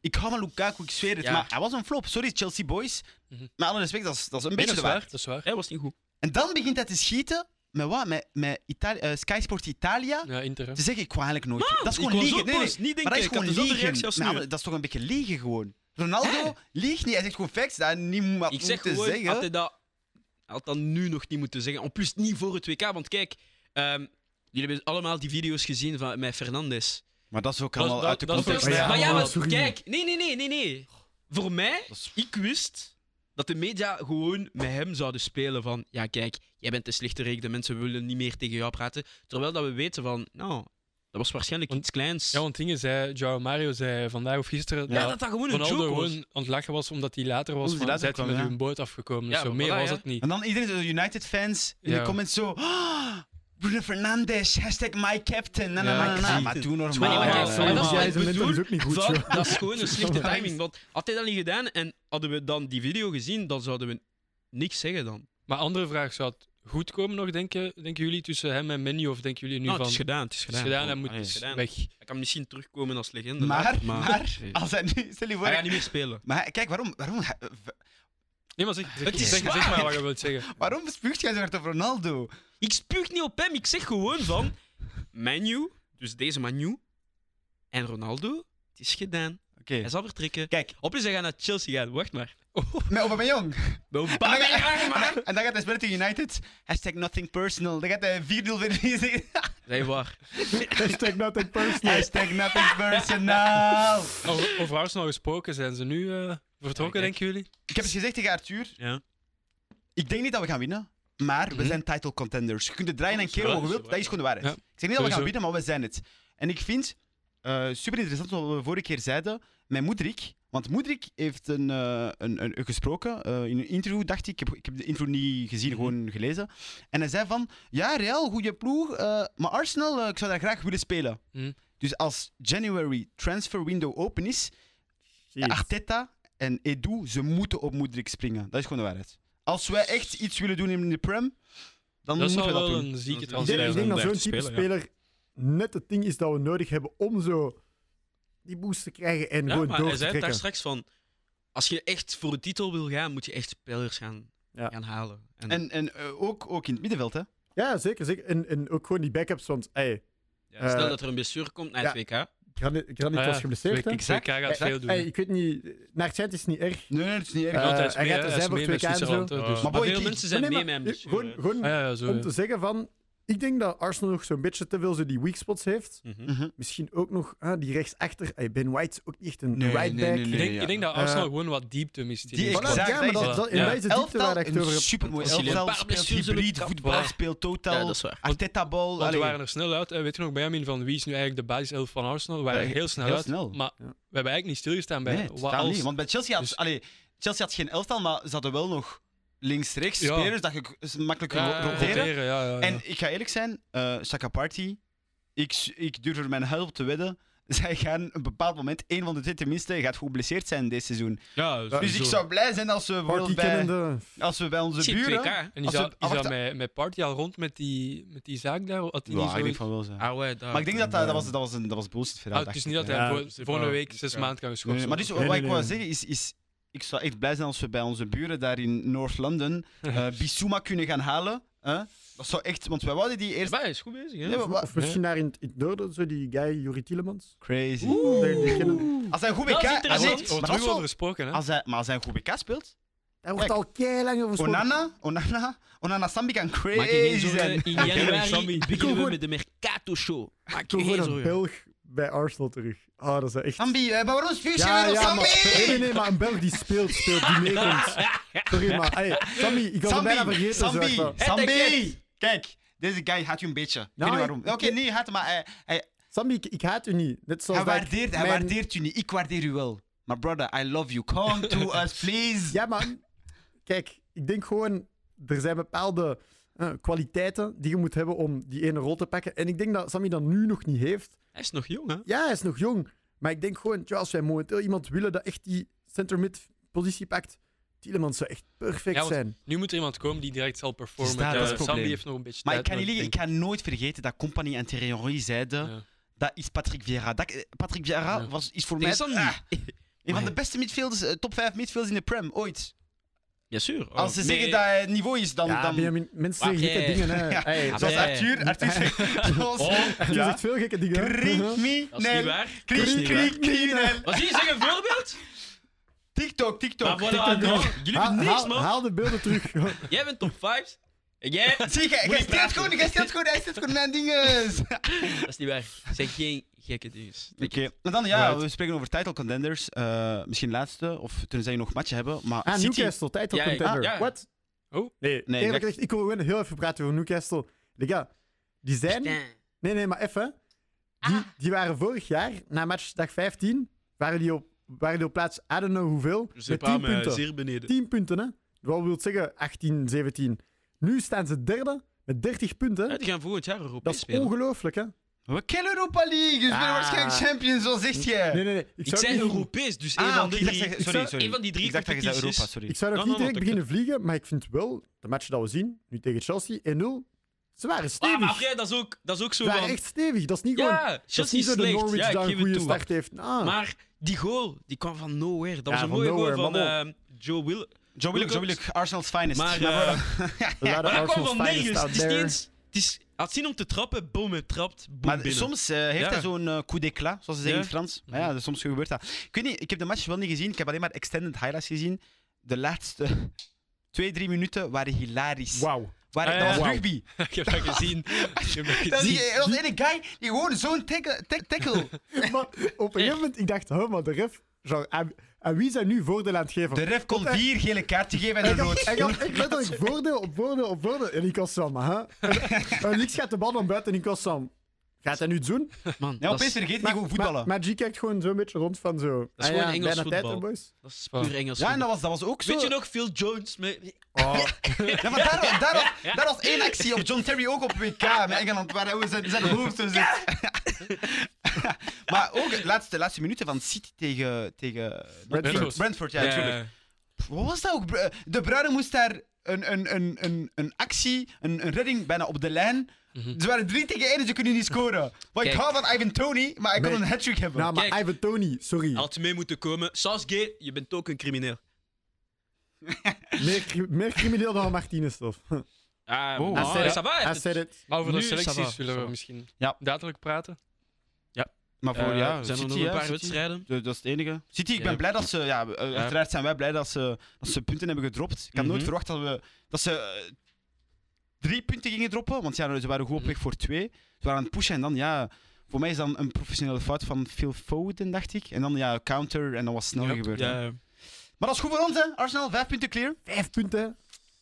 Ik hou van Lukaku, ik zweer het, Ja. maar hij was een flop. Sorry, Chelsea boys. Mhm. Met alle respect, dat is, dat is een Nee, beetje dat de is waar. waar. Dat is waar. Hij was niet goed. En dan begint hij te schieten met wat? Met, met Itali- eh, Sky Sport Italia. Ja, Inter. hè. Ze zeggen, ik wou eigenlijk nooit. dat is ik gewoon was liegen. ook Nee, nee. boos. Niet denken, Maar dat is ik had gewoon dezelfde liegen. reactie als Nou, nu. maar dat is toch een beetje liegen gewoon. Ronaldo liegt niet. Hij zegt gewoon facts. Dat hij niet had Ik zeg moeten gewoon, zeggen. had hij dat, had dat nu nog niet moeten zeggen. En plus niet voor het WK, want kijk, ehm, jullie hebben allemaal die video's gezien van, met Fernandes. Maar dat is ook Dat- allemaal dat- uit de dat is context. ook- hè. Ja, maar ja, maar maar sorry. kijk, nee, nee, nee, nee, nee. Voor mij, Dat is- ik wist dat de media gewoon met hem zouden spelen van, ja kijk, jij bent de slechterik, de mensen willen niet meer tegen jou praten. Terwijl dat we weten van, nou, dat was waarschijnlijk Want- iets kleins. Ja, want dingen zei, Joao Mario zei vandaag of gisteren ja, dat dat dat gewoon een Ronaldo joke was. gewoon aan het lachen was omdat hij later was Omdat van, hij later "Zijt je kwam, met ja. uw boot afgekomen. Ja, dus zo maar meer voilà, was ja. het niet. En dan iedereen, de United-fans, in Ja. de comments zo... "Ah, Bruno Fernandes, hashtag my captain. Na, na, Ja, na, na, na." precies. Maar doe Maar normaal. nee, maar hè. kijk, Ja, maar ja, dat is ja. wat jij ik zijn bedoel. mentor is ook niet goed. Van, joh. dat is gewoon een slechte Sorry. timing. Want had hij dat niet gedaan en hadden we dan die video gezien, dan zouden we niks zeggen dan. Maar andere vraag, zou het goed komen nog, denken, denken jullie, tussen hem en Menu? Of denken jullie nu Nou, van... het is gedaan. Het is het is gedaan. gedaan, hij Oh, moet allee, het is gedaan. weg. Hij kan misschien terugkomen als legende. Maar- later, maar, maar- Nee. Als hij nu, stel je voor. hij gaat niet meer spelen. Maar hij- kijk, waarom, waarom, hij- Nee, maar zeg, zeg, Het is zeg, zeg waar. maar wat je wilt zeggen. waarom spuugt jij zo hard op Ronaldo? Ik spuug niet op hem. Ik zeg gewoon van... Manu, dus deze Manu, en Ronaldo, het is gedaan. Oké. Hij zal vertrekken. Kijk, Op is hij gaat naar Chelsea gaan. Wacht maar. met Aubameyang. Aubameyang, man! En dan gaat hij spelen tegen United. Hashtag nothing personal. Dan gaat hij 4-0 verliezen. Zeg waar. Hashtag nothing personal. Hashtag nothing personal. Over, over Arsenal gesproken, zijn ze nu eh, vertrokken, Ja, kijk. denken jullie? Ik heb het gezegd tegen Arthur. Ja. Ik denk niet dat we gaan winnen. Maar we Mhm. zijn title contenders. Je kunt het draaien en Dat is keren wat waar, je dat is wilt. Dat is gewoon de waarheid. Ja, Ik zeg niet dat we gaan sowieso. winnen, maar we zijn het. En ik vind eh, super interessant wat we vorige keer zeiden. Mijn Moedrik. Want Moedrik heeft een, eh, een, een, een gesproken eh, in een interview, dacht ik. Ik heb, ik heb de interview niet gezien, Mhm. gewoon gelezen. En hij zei van, ja, Real, goede ploeg. eh, maar Arsenal, eh, ik zou daar graag willen spelen. Mhm. Dus als January transfer window open is, Jeez. Arteta en Edu, ze moeten op Moedrik springen. Dat is gewoon de waarheid. Als wij echt iets willen doen in de Prem, dan Dat moeten zal we dat wel doen. een zieke Ik Als denk, hij transfer ik denk zijn. dan dat blijft zo'n type spelen, speler net het ding is dat we nodig hebben om zo die boost te krijgen en Ja, gewoon maar door hij te zei het daar trekken. straks van... Als je echt voor de titel wil gaan, moet je echt spelers gaan, Ja. gaan halen. En, En, en eh, ook, ook in het middenveld, hè? Ja, zeker. zeker. En, en ook gewoon die backups, want ey, ja, stel eh, dat er een blessure komt naar het WK. Granit, Granit Ah ja, was geblesseerd. hè? Ik zeg, hij gaat Ey, veel doen. ey, ik weet niet, naar het schijnt is het niet erg. Nee, nee, dat is niet erg. Eh, Want hij is hij mee, gaat hè, er hij is zijn voor mee met het WK en zo. Zwitserland. hè, dus. Maar Maar boy, veel ik- mensen zijn Maar nee, mee met maar, een eh, blessure. Mhm. Gewoon, gewoon Ah, ja, ja, zo. om ja. te zeggen van, ik denk dat Arsenal nog zo'n beetje te veel zo die weak spots heeft. Mhm. Mhm. Misschien ook nog ah, die rechtsachter. Ey, ben White is ook niet echt een Nee, right nee, back. nee, nee. Ik denk, ja. ik denk dat Eh, Arsenal gewoon wat diepte mist. in die die Voilà, squad. exact, ja, maar dat is het. dat, dat, en Ja. dat is het diepte Elftal, waar ik het een over heb. supermooi Als jullie een elftal. paar Speelt blessures hebben hybrid, gekapt, voetbal, voilà. speelt totaal. Ja, dat is waar. Arteta-bal. Want we allee. waren er snel uit. Eh, Weet je nog, Benjamin, van wie is nu eigenlijk de basiself van Arsenal? We waren Ja, er heel snel heel uit. snel. Maar we Ja. hebben eigenlijk niet stilgestaan bij Nee, wat totaal als- niet. Want bij Chelsea had, Dus- allee, Chelsea had geen elftal, maar ze hadden wel nog links-rechts Ja. spelers dat je k- makkelijk kon Ja, ro- roteren. roteren, ja, Oh, ja, ja. En ik ga eerlijk zijn, eh Saka Party, ik, s- ik durf er mijn huid op te wedden. (laughs) Zij gaan een bepaald moment, één van de twee tenminste, gaat geblesseerd zijn dit seizoen. Ja, dus ik zou blij zijn als we, bijvoorbeeld Party bij, kennende. als we bij onze Shit, buren... 2K. En die als zou, we- die ah, zou wacht, met, met Party al rond met die, met die zaak daar? Had die niet Ja, ik denk zoiets- van wel zijn. Ah, ouais, daar. Maar ik denk dat dat, dat was, dat was, een, dat was bullshit verhaal. Ah, het is dacht niet dat ik, hij hè. Ja, voor- dat is volgende wel- week dat zes is wel- maanden kan Nee, geschorst nee, maar dus Nee, wat nee, ik wil nee. zeggen is, is... Ik zou echt blij zijn als we bij onze buren daar in North (laughs) London eh Bissouma kunnen gaan halen. hè. Dat zou echt... Want wij wouden die eerst... Ja, hij is goed bezig, hè? Nee, maar Of, wat- of misschien daar in, het- in het noorden, zo die guy Juri Tielemans. Crazy. Die- die kennen- Als hij een goed WK... Dat is Daar als hij- interessant. wordt- wordt Ah, maar Oh, als terug wel- over gesproken, hè? als hij, maar als hij een goed WK speelt... Daar wordt Kijk. al keilang over gesproken. Onana, Onana, Onana Sambi kan Maak je geen crazy (laughs) zorgen. zijn. In januari beginnen we gewoon- met de Mercato Show. Maak Ik wil je geen gewoon zorgen. een Belg bij Arsenal terug. Ah, dat is echt... Sambi, eh, maar waarom spuug je weer op maar, nee, nee, Sambi? nee, maar een Belg die speelt, speelt, die meekomt. Sorry, maar... Hey, Sammy, ik had het bijna Sambi, vergeten. zo echt Sambi, wel. Sambi. Kijk, deze guy haat je een beetje. Ik weet Nou, niet waarom. Oké, ik- nee, je haat hem, maar hij, hij, Sammy, ik, ik haat u niet. Net zoals hij, dat ik waardeert, hij mijn- waardeert je niet. Ik waardeer u wel. Maar brother, I love you. Come to us, please. Ja, maar... Kijk, ik denk gewoon... Er zijn bepaalde eh, kwaliteiten die je moet hebben om die ene rol te pakken. En ik denk dat Sammy dat nu nog niet heeft. Hij is nog jong, hè? Ja, hij is nog jong. Maar ik denk gewoon, tja, als wij momenteel iemand willen dat echt die center-mid-positie pakt, Tielemans zou echt perfect Ja, want- zijn. Nu moet er iemand komen die direct zal performen. Dus daar Eh, is het Sambi probleem. heeft nog een beetje Maar ik tijd kan niet nodig, liegen, ik denk ga nooit vergeten dat Company en Thierry Henry zeiden, Ja. dat is Patrick Vieira. Dat, eh, Patrick Vieira Ja. was, is voor Tegen mij Sandy. ah, een van de beste midfielders, eh, top 5 midfielders in de Prem, ooit. Ja, Oh, zuur. Als ze zeggen dat hij het niveau is, dan... ja, dan... Benjamin, mensen zeggen Wacht, gekke eh. dingen. Hè. Hey, Ah, Zoals nee. Oh, Arthur, Arthur (laughs) zegt... (laughs) zoals- Er Ja. is echt veel gekke dingen. hè. Kriek Uh-huh. me, Dat is niet nee. waar. Dat is Kriek, niet waar. kriek, (laughs) kriek, Wat zie je? Zeg een voorbeeld. TikTok, Maar TikTok. voilà, nou, jullie Haal, hebben niks, haal, man. haal de beelden (laughs) terug. Ah, Jij bent top 5. En jij? Zie, jij Moet jij je steelt praten. gewoon, jij steelt gewoon, hij steelt gewoon mijn (laughs) dinges. Oké, Dat is niet waar. Het zijn geen gekke dingen. maar dan ja, Right. we spreken over title contenders. Eh, misschien laatste, of tenzij je nog matchen hebben. Maar Ah, City... Newcastle, title Ja, ja. contender. Ah, ja. Wat? Oh. Nee, Nee, eerlijk dat- gezegd, ik wil gewoon heel even praten over Newcastle. Lega, die zijn... Nee, nee, maar even. Die, Ah. die waren vorig jaar, na matchdag 15, waren die op, waren die op plaats, I don't know hoeveel, met 10 punten. beneden. 10 punten, hè? Wat wil zeggen 18, 17. Nu staan ze derde met 30 punten. die gaan volgend jaar Europees dat is spelen. ongelooflijk, hè? We kennen Europa League, dus we zijn Ah. waarschijnlijk champion, zo zegt jij. Nee, nee, nee. Ik zou zei niet- Europees, dus een Ah, van oké, de ik dacht drie. dat je- sorry, sorry. Een van die drie Ik dacht dat je zei competities. Europa, sorry. Ik zou nog No, niet no, no, direct dat- beginnen vliegen, maar ik vind wel, de match dat we zien, nu tegen Chelsea, 1-0, ze waren stevig. Ah, maar oké, dat is ook, dat is ook ze zo waren van... echt stevig. Dat is niet gewoon... ja, dat is Chelsea niet is zo dat slecht. Norwich ja, ik daar een geef het goede toe. start heeft. Ah. Maar die goal, die kwam van nowhere. Dat was Ja, een van mooie goal nowhere, van maar eh, Joe Will. Joe Willock, Joe Willock, Arsenal's finest. Maar, Maar eh, voilà. Laat de Maar dat kwam Arsenal's van finest nergens. out Het is niet there. eens... Het is, had zin om te trappen, boom, het trapt, boom, Maar binnen. soms eh, heeft Ja. hij zo'n eh, coup d'éclat, zoals ze zeggen Ja. Mhm. in het Frans. Maar ja, dus soms gebeurt dat. Ik weet niet, ik heb de match wel niet gezien. Ik heb alleen maar extended highlights gezien. De laatste (laughs) twee, drie minuten waren hilarisch. (laughs) Wauw. Waren, Ah, dat ja. was Eh, Wauw. rugby. (laughs) Ik heb dat gezien. Ik heb dat (laughs) Dat was, gezien. die- er was een guy die gewoon zo'n tackle. tack- tackle. (laughs) Maar op een gegeven moment, ik dacht, huh, maar de ref... Genre, aan, aan wie zijn nu voordeel aan het geven? De ref kon Want hij- vier gele kaarten geven en Hij een had, rood. hij had echt letterlijk voordeel op voordeel op voordeel. En ik was zo, maar hè? (laughs) En, en Lix gaat de bal dan buiten en ik was zo... Gaat hij nu het doen? Man, Ja, dat, opeens is, vergeet hij gewoon voetballen. Maar, maar G kijkt gewoon zo'n beetje rond van zo... "Ah is Dat gewoon Engels voetbal. boys. dat is puur Engels. Ja, en voetbal. dat was, dat was ook zo. Weet je nog, Phil Jones met... Oh, (laughs) Ja, maar daar, daar, was, daar was één actie op John Terry ook op WK met Engeland, waar hij zijn, zijn hoofd zo zit. (laughs) maar ook de laatste, laatste minuten van City tegen, tegen Brentford. Brentford, ja, natuurlijk. Wat was dat ook? Br- eh, De Bruyne moest daar een, een, een, een, een actie, een, een redding bijna op de lijn. Ze waren 3 tegen 1 en ze kunnen niet scoren. Maar ik Kijk. hou van Ivan Tony, maar ik wil Nee. een hat-trick hebben. nou, maar Kijk. Ivan Tony, sorry. Had mee moeten komen. Sasge, je bent ook een crimineel. Meer, cri- meer crimineel dan Martinez, toch? Ah, Oh, maar- ah, eh, ja. ça va, Hij het- said it. Maar over de Nu, ça va, selecties willen ça we va. misschien Ja. dadelijk praten. maar eh, zijn er City, nog een hè, paar City. wedstrijden? Dat dat is het enige. City, ik Ja. ben blij dat ze. Ja, eh, Uiteraard zijn wij blij dat ze, dat ze punten hebben gedropt. Ik had nooit Mhm. verwacht dat, we, dat ze eh, drie punten gingen droppen. Want ja, ze waren goed op weg voor twee. Ze waren aan het pushen en dan, ja. Voor mij is dan een professionele fout van Phil Foden, dacht ik. En dan, ja, counter en dan was het snel Ja. gebeurd. hè. Ja, Maar dat is goed voor ons, hè? Arsenal, vijf punten clear. Vijf punten.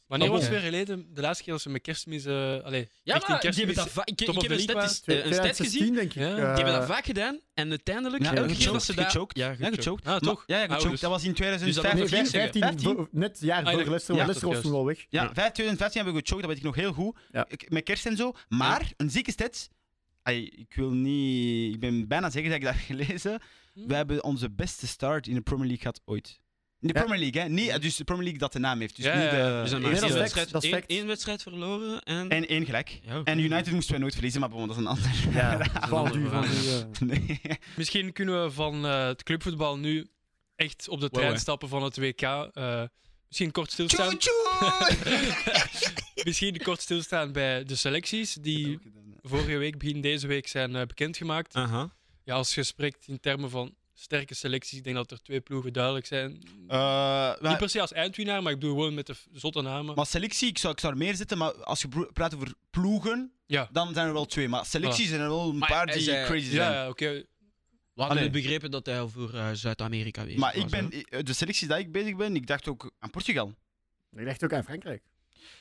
Wanneer Oh, was het ja. weer geleden? De laatste keer dat ze met kerstmis... eh allee, ja richting maar die hebben kerstmis... dat va- ik, top ik of heb the een league stat, Twee- eh, een stat 2016, gezien. denk ik. Ja. Die Die hebben Eh, dat vaak gedaan. En uiteindelijk, eh, Ja, elke keer gechoked, dat ze daar... gechoked. Ja, Ja, gechoked. gechoked. Ah, Maar- toch? Ja, ja, gechoked. Ouders. dat was in Dus dat was 2015. Nee, vijf- 15. vijf- 15, vo- net het jaar Ah, voor ja, Leicester. want ja, Leicester was juist. toen al weg. Ja, 5 2015 hebben we gechoked, dat weet ik nog heel goed. Ja. Ik- met kerst en zo. Maar, een zieke stat. Ai, ik wil niet... Ik ben bijna zeker dat (laughs) ik dat heb gelezen. We hebben onze beste start in de Premier League gehad ooit. In de Ja. Premier League, hè? Niet, dus de Premier League dat de naam heeft. Dus Ja, niet ja, de... ja. Dus dan Nee, maar dat is één fact, wedstrijd- dat is één- fact. één wedstrijd verloren en... En één gelijk. Ja, oké. En United moesten wij nooit verliezen, maar bon, dat is een (laughs) ander. Ja, van andere die, van vraag. die. eh. Nee. Misschien kunnen we van eh, het clubvoetbal nu echt op de trein hè. stappen van het WK. eh, misschien kort stilstaan. Tjoe, (laughs) tjoe! Misschien kort stilstaan bij de selecties die vorige week, begin deze week zijn eh, bekendgemaakt. Aha. Ja, als je spreekt in termen van sterke selecties, ik denk dat er twee ploegen duidelijk zijn. Eh, Niet maar- per se als eindwinnaar, maar ik bedoel gewoon met de v- zotte namen. Maar selectie, ik zou, ik zou er meer zitten, maar als je pro- praat over ploegen, Ja. dan zijn er wel twee. Maar selecties zijn er wel een Maar paar hij die zei- crazy ja, zijn. ja, oké. We hadden Allee. begrepen dat hij al voor eh, Zuid-Amerika bezig Maar ik was, ben, eh, de selecties die ik bezig ben, ik dacht ook aan Portugal. Ik dacht ook aan Frankrijk.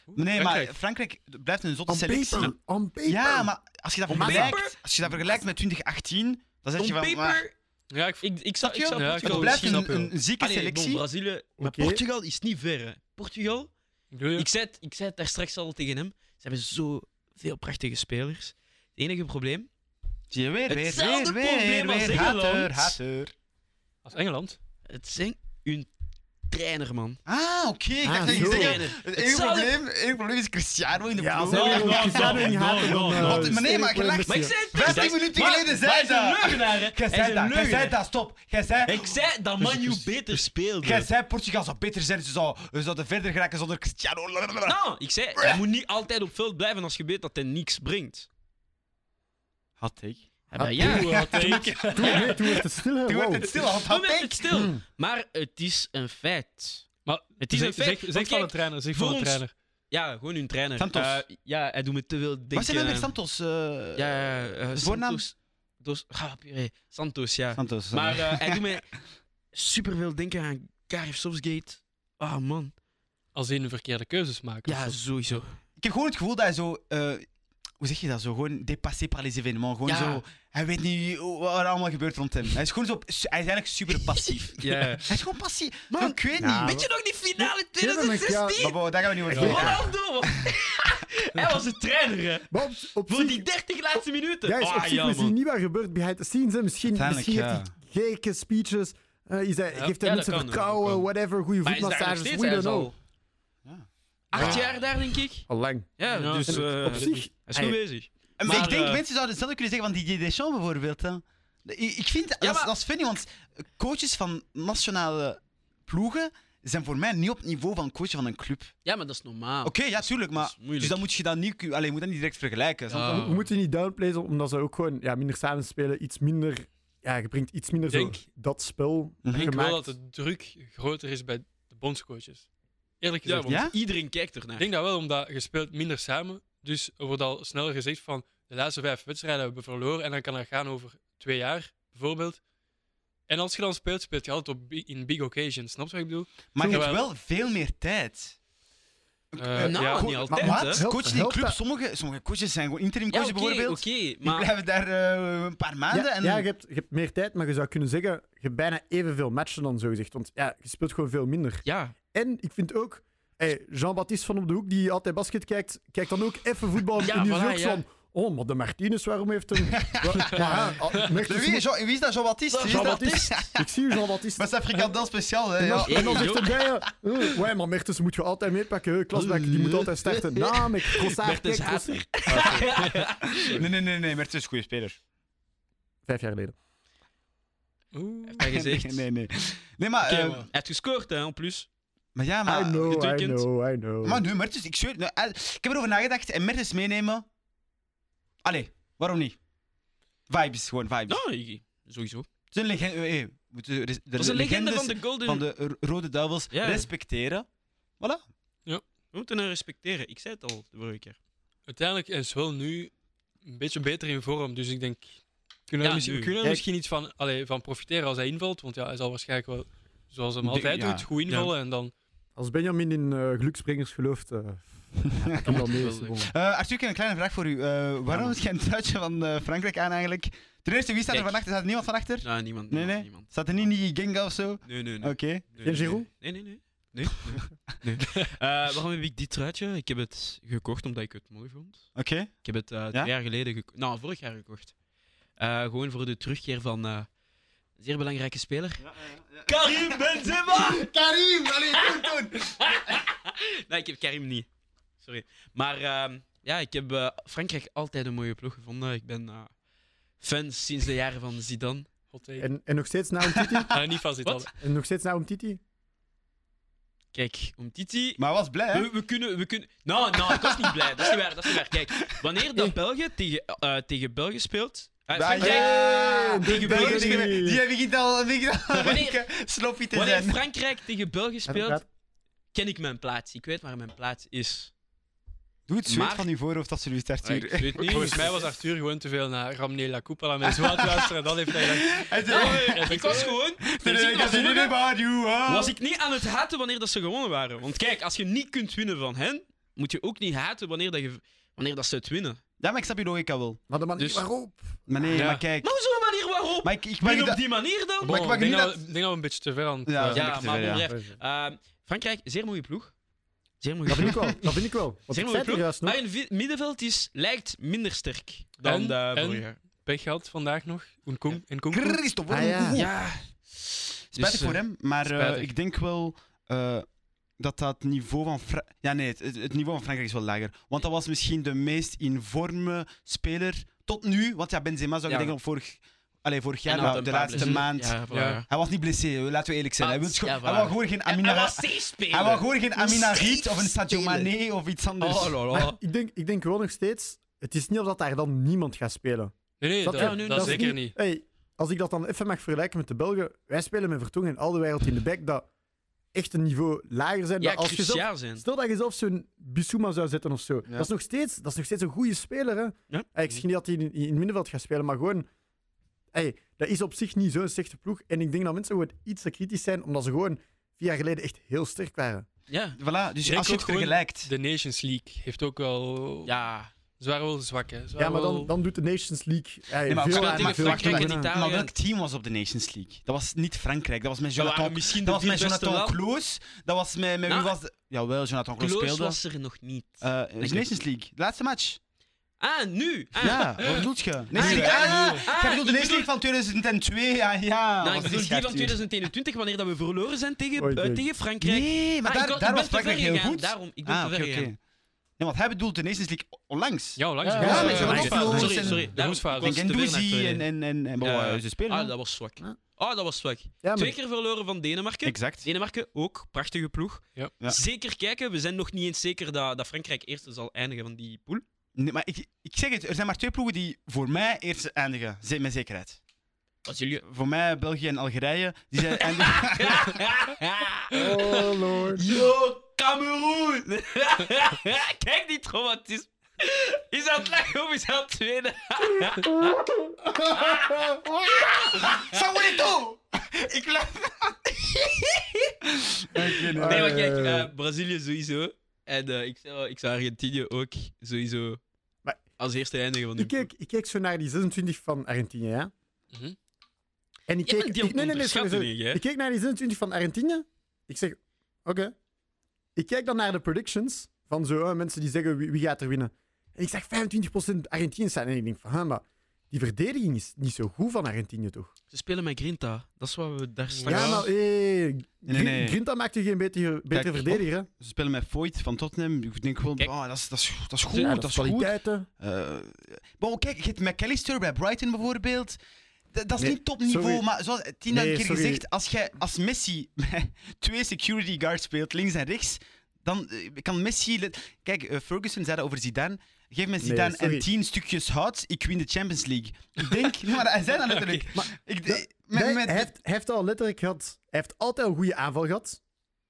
Nee, Frankrijk. maar Frankrijk blijft een zotte On selectie. paper. On paper. Ja, maar als je dat Op vergelijkt, paper? als je dat vergelijkt met 2018, dan hè. zeg je On van... maar paper... Ja, ik v- Ik, ik Snap zou, ik je? zou Ja, ik het Portugal wil blijft misschien een, snappen, een zieke Allee, bon, selectie. Brazilië... Maar Oké. Portugal is niet ver, hè. Portugal... ik bedoel, Ik zei, het, ik zei het daar straks al tegen hem. Ze hebben zoveel prachtige spelers. Het enige probleem... Zie je weer, weer, Hetzelfde weer, weer, probleem als weer. Engeland. Hater, hater. als Engeland. Het zijn hun trainer, man. Ah, oké. ik Ah, dacht dat je zo. zei- Trainer. Het enige Hetzelfde- probleem, het enige probleem is Cristiano in de Ja, ploeg. als hij no, no, Cristiano niet no, haten, no, dan... no. eh, Want- maar nee, maar je lacht- Maar ik zei het Vijftien tegen hem. minuten Maar- geleden maar zei hij is dat. een leugenaar, hè. Jij Hij is zei een dat, jij zei leugenaar. dat, stop. Jij zei, Ik zei dat Manu beter jij speelde. zei Portugal zou beter zijn, ze zou- ze zouden verder geraken zonder Cristiano. Nou, ik zei, je moet niet altijd op veld blijven als je weet dat hij niks brengt. Had ik. Ja, maar Ah, ja. Oeh, (laughs) wat eh, ik. Toen, nee, toen werd het stil, hè. Toen Wow. werd het stil, had Toen had werd ik. het Hmm. stil. Maar het is een feit. Maar Het is zeg- een feit. Zeg, Want zeg van kijk, de trainer, zeg voor van de ons- trainer. Ja, gewoon hun trainer. Santos. Eh, ja, hij doet me te veel denken. Wat zijn we weer eh, Santos? eh, Ja, ja, ja, eh, Voornaam? Santos. Dos, ah, puree. Santos, ja. Santos. Maar eh. eh, hij doet me superveel denken aan Gareth Southgate. Ah, man. Als in verkeerde keuzes maken. Ja, of zo. sowieso. ik heb gewoon het gevoel dat hij zo. eh, hoe zeg je dat zo? Gewoon dépassé par les événements. Gewoon Ja. zo. Hij weet niet hoe- wat er allemaal gebeurt rond hem. Hij is gewoon zo. Hij is eigenlijk super (laughs) passief. Ja. Hij is gewoon passief. Gewoon, ik weet Ja, niet. Weet je nog die finale Geef hem een 2016? Maar wow, daar gaan we niet over Ja. spreken. Ronaldo! Hij was de trainer, hè. Maar op, op Voor zich- die 30 laatste minuten. Ja, is op Ah, zich ja, misschien man. niet wat gebeurt behind the scenes. Hè. Misschien, Uiteindelijk, misschien heeft hij gekke speeches. eh, is hij, Ja. Geeft hij Ja, mensen dat kan, vertrouwen, dat kan. whatever, goede Maar hij is daar nog voetmassages, steeds. we Hij don't is al know. Ja. acht Ja. jaar daar, denk ik. Allang. Ja, Ja, dus... en eh, op zich, Hij is goed Hey. bezig. Maar, Maar, ik denk, eh, mensen zouden hetzelfde kunnen zeggen van Didier Deschamps bijvoorbeeld. Hè. Ik, ik vind, dat, is, maar- dat is funny, want coaches van nationale ploegen zijn voor mij niet op het niveau van coachen van een club. Ja, maar dat is normaal. Oké, ja, tuurlijk, Ah. Dat maar... is moeilijk. Dus dan moet je dat niet... Allee, je moet dat niet direct vergelijken. snap je? Ah. we, we moeten niet downplayen, omdat ze ook gewoon ja, minder samenspelen, iets minder... Ja, je brengt iets minder Denk- zo dat spel denk Ik denk gemaakt. wel dat de druk groter is bij de bondscoaches. Eerlijk Ja, gezegd. want Ja? iedereen kijkt ernaar. Ik denk dat wel, omdat je speelt minder samen. Dus er wordt al sneller gezegd van de laatste vijf wedstrijden hebben we verloren. En dan kan dat gaan over twee jaar, bijvoorbeeld. En als je dan speelt, speelt je altijd op, bi- in big occasions. Snap je wat ik bedoel? Maar je hebt Terwijl- wel veel meer tijd. Eh, nou, ja. niet altijd, maar hè. wat? Helpt- Coachen in helpt club, dat- sommige, sommige coaches zijn gewoon interim Ja, coaches oké, bijvoorbeeld. oké, Die maar... blijven daar eh, een paar maanden. Ja, en... ja, je, hebt, je hebt meer tijd, maar je zou kunnen zeggen, je hebt bijna evenveel matchen dan zo gezegd. Want ja, je speelt gewoon veel minder. (laughs) Ja, En ik vind ook, hey, Jean-Baptiste van op de hoek, die altijd basket kijkt, kijkt dan ook even voetbal. Ja, en die is voilà, ook ja. van, oh, maar de Martinez, waarom heeft hem... Wa- ja, ah, merk De eens wie, niet- Jo- wie is dat? Jean-Baptiste? Wie is dat? Jean-Baptiste. Ik zie u, (laughs) Jean-Baptiste. Maar zijn frikandel speciaal, hè? En Ja. (laughs) dan, en dan Hey, zegt de bijen, "Eh, ouais, maar Mertens moet je altijd meepakken. hè. Klasbak, die moet altijd starten. Namelijk, Trossard, Mertens kijk, haat Trossard. Nee, nee, nee, nee, Mertens is een goede speler. Vijf jaar geleden. Oeh. hij gezegd. Nee, nee, nee. Nee, maar... Oké, eh, man. Hij heeft gescoord, hè, en plus. maar ja, I maar... know, I getekend. know, I know. Ah, Maar nu, Mertens, ik zweer... nou, eh, ik heb erover nagedacht en Mertens meenemen... Allee, waarom niet? Vibes, gewoon vibes. Nou, ik- sowieso. Het is een legende... eh, eh, we moeten de, de, Dat is een legende legendes van de Golden... van de ro- Rode Duivels Ja. respecteren. Voilà. We moeten hem respecteren. Ik zei het al de vorige keer. Uiteindelijk is wel nu een beetje beter in vorm. Dus ik denk, kunnen we Ja, misschien, nu. we kunnen er Kijk. misschien iets van, allee, van profiteren als hij invalt. Want ja, hij zal waarschijnlijk wel, zoals hem Ik denk- altijd ja. doet, goed invallen. En dan Als Benjamin in eh gelukspringers gelooft, eh ja, kan wel mee. is het gewoon. Eh Arthur, ik heb een kleine vraag voor u. Eh, waarom man. is geen truitje van eh, Frankrijk aan eigenlijk? Ten eerste, wie staat er Kijk. van achter? Staat er niemand van achter? Nou, niemand. Nee, niemand, nee. Niemand. Staat er niet die Genga of zo? Oké. Nee, nee, nee. nee, Geen nee, Giroud? Nee, nee, nee. nee, nee, (laughs) nee. Eh, waarom heb ik dit truitje? Ik heb het gekocht omdat ik het mooi vond. Oké. Ik heb het eh, twee jaar geleden gekocht. Nou, vorig jaar gekocht. Eh, gewoon voor de terugkeer van eh, een zeer belangrijke speler. Karim Benzema! Karim! Allee, doen, doen! nee, ik heb Karim niet. Sorry. Maar ehm, ja, ik heb eh, Frankrijk altijd een mooie ploeg gevonden. Ik ben eh, fan sinds de jaren van Zidane. hot take. En, en nog steeds na Titi? Ah, niet vast Wat? En nog steeds na Titi? Kijk, om Titi. Maar hij was blij, hè? We, we kunnen, we kunnen... Nou, nou, ik was niet blij. Dat is niet waar, dat is niet waar. Kijk, wanneer dat België tegen, eh, tegen België speelt... eh, Daar- Frankrijk- Ja, tegen België, België. tegen België. Die begint al begint al een beetje sloppy te wanneer zijn. Frankrijk tegen België speelt, ken ik mijn plaats. Ik weet waar mijn plaats is. Doe het zweet Maar- van uw voorhoofd, alsjeblieft, Arthur. (laughs) Ik weet niet. Volgens mij was Arthur gewoon te veel naar Ramne La Coupa aan mensen aan het luisteren. Dan heeft hij gedacht, (laughs) Hij zei- Ja, ik was gewoon... Nee, nee, ik was, was in gewoon- about you, huh? was ik niet aan het haten wanneer dat ze gewonnen waren. Want kijk, als je niet kunt winnen van hen, moet je ook niet haten wanneer, dat je, wanneer dat ze het winnen. Ja, maar ik snap je logica wel. Maar de manier Dus- waarop. Maar nee, Ja. maar kijk. Maar op zo'n manier waarop? Maar ik, ik mag En je op dat- die manier dan? bon, ik mag ik denk niet dat dat- we- ik denk dat we een beetje te ver aan het... Ja, eh, dat Ja, ik maar te ver, ja. bon, bref. Ehm, Frankrijk, zeer mooie ploeg. Zeer mooie Dat ploeg. vind ik wel. Dat vind ik wel. Want Zeer ik mooie zei het er ploeg. juist nog. Maar in vi- middenveld is, lijkt minder sterk dan En- de en- vorige. pech gehad vandaag nog. Oenkong, en Konko. Christophe. Ah, ja. Ja. Spijtig Dus, eh, voor hem, maar eh, spijtig. ik denk wel eh, dat dat niveau van Fra- ja nee, het, het niveau van Frankrijk is wel lager, want dat was misschien de meest informe speler tot nu, want ja Benzema zou ik Ja. denken op vorig, allee, vorig en jaar, had maar nou, een de paar laatste blessures. maand. Ja, voilà. Ja. Hij was niet blessé, laten we eerlijk zijn. Hij, Maar- wil gewoon- ja, hij waar. wou gewoon geen En hij Amina, was C-speler. hij dus- wou gewoon geen Amina Riet of een Sadio Spelen. Mane of iets anders. Oh, la, la. Maar ik denk, ik denk wel nog steeds, het is niet of dat daar dan niemand gaat spelen. Nee, nee, Dat- dat, ja, nu- dat dat is zeker niet. Hey, als ik dat dan even mag vergelijken met de Belgen, wij spelen met Vertongen en al de wereld in de bek dat echt een niveau lager zijn. Ja, dan als je zelf- cruciaal zijn. Stel dat je zelf zo'n Bissouma zou zetten of zo. Dat, is nog steeds, dat is nog steeds een goede speler. Hè? Ja. Hey, ik zie niet dat hij in, in het middenveld gaat spelen, maar gewoon. Hey, dat is op zich niet zo'n slechte ploeg. En ik denk dat mensen gewoon iets te kritisch zijn, omdat ze gewoon vier jaar geleden echt heel sterk waren. Ja. Voilà, dus denk als je ook het gewoon vergelijkt. De Nations League heeft ook wel... Ja. Ze waren wel zwak, hè. Ze Ja, waren maar wel- dan, dan doet de Nations League hey, maar veel speelt aan tegen veel Frankrijk achterweg. en Italië. Maar welk team was op de Nations League? Dat was niet Frankrijk, dat was met Ze waren Jonathan, misschien dat was met beste Jonathan wel. Kloos. Dat was met, met Nou, wie was... de- Jawel, Jonathan Kloos Kloos speelde. was er nog niet. Eh, de ik. Nations League, de laatste match. ah, nu! Ah. Ja, wat doet je? nou? Nations ik League. bedoel- Ah, ik bedoel de Nations League van 2002, ja, ja. Nou, ik was bedoel die scherp van hier. 2021, wanneer dat we verloren zijn tegen, Oei, eh, oei. tegen Frankrijk. Nee, maar Ah, ik daar, kon- daar ik was ben te ver Frankrijk heel gegaan, goed. Daarom, ik ben ah, te oké, ver oké. gegaan. Nee, want hij bedoelt de Nations League onlangs. Ja, langs. Ja, de ja, groepsfase. met Ja, zo'n de groepsfase. groepsfase. Sorry, sorry. De groepsfase. Daarom- Denk was aan te ver naar Douzi tweede. en, en, en, en bon, Ja. eh, ze spelen. Ah, hè? dat was zwak. Ja. Ah, dat was zwak. Ja, maar Twee keer verloren van Denemarken. Exact. Denemarken ook, prachtige ploeg. Ja. Ja. Zeker kijken, we zijn nog niet eens zeker dat, dat Frankrijk eerste zal eindigen van die pool. Nee, maar ik, ik zeg het, er zijn maar twee ploegen die voor mij eerst eindigen, ze- met zekerheid. Als jullie... Voor mij, België en Algerije, die (laughs) zijn eindigen. Ah, Oh lord. Yo, Cameroen! (laughs) Kijk die traumatisme. Is aan het lachen of is aan het tweede? Favorito! ik laat. Oké, nee. Nee, maar Eh, kijk, eh, Brazilië sowieso. En eh, ik, zou, ik zou Argentinië ook sowieso Maar- als eerste eindigen van die (laughs) Ik pool. keek, ik keek zo naar die 26 van Argentinië. Hè? Mhm. En ik Ja, keek, maar die ik, nee, nee, nee, sorry, onderschatten sorry. niet, hè? ik keek naar die 26 van Argentinië. Ik zeg, oké. Ik kijk dan naar de predictions van zo, eh, mensen die zeggen wie, wie gaat er winnen. En ik zag 25% Argentinië staan. En ik denk van, hè, maar die verdediging is niet zo goed van Argentinië toch? Ze spelen met Grinta. Dat is wat we daar straks... Ja, Ja. maar hé, Grin- nee. Grinta maakt je geen betere, betere Kijk, verdediger. Hè? Ze spelen met Voigt van Tottenham. Ik denk gewoon, Kijk. oh, dat, is, dat, is, dat is goed, Ja, dat is goed. kwaliteiten. Eh bon, kijk, je hebt McAllister bij Brighton bijvoorbeeld. Dat, dat is Nee, niet topniveau, sorry. maar zoals Tina Nee, een keer sorry. gezegd, als, jij, als Messi met (laughs) twee security guards speelt, links en rechts, dan eh, kan Messi... le- Kijk, eh, Ferguson zei dat over Zidane. Geef me Zidane en sorry. tien stukjes hout, ik win de Champions League. Ik denk... (laughs) Nee, maar hij zei dat letterlijk. Maar Ik, dat- eh, met, Hij, met- hij heeft, hij heeft al letterlijk gehad. Hij heeft altijd een goede aanval gehad.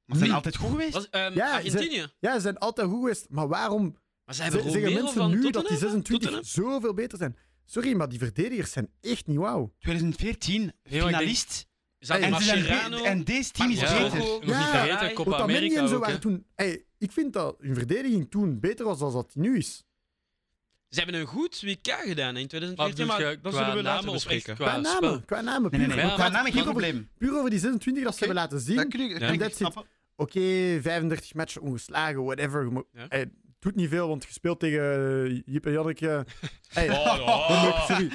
maar ze zijn niet. altijd goed geweest. Was, ehm, Ja, ze- Argentinië. Ja, ze zijn altijd goed geweest. Maar waarom Maar ze hebben ze- zeggen Romero mensen van nu dat die Tottenham? 26 Tottenham? zoveel beter zijn? Sorry, maar die verdedigers zijn echt niet wauw. 2014, Nee, maar ik finalist. Ze hadden En En, maar ze zijn be- Mascherano. en deze team is Ja, Marco. beter. Nog niet Ja. vergeten, Copa Otamendi America en zo ook, hè. waren toen... Ey, ik vind dat hun verdediging toen beter was dan dat die nu is. Ze hebben een goed WK gedaan hè, Maar in 2014, bedoel maar, je dat qua zullen we Oh, later namen of echt bespreken. (laughs) qua Qua spel? namen, qua Nee, namen. Puur, nee, nee. Ja, Qua maar- namen geen maar- probleem. puur over die 26 dat ze Oké. hebben laten Dat zien. kun je- Ja. dat kun Dat ik zit- snappen. Oké, 35 matchen ongeslagen, whatever. Maar, Ja. ey, het doet niet veel, want gespeeld tegen eh, Jip en Janneke... Ey, Oh. sorry.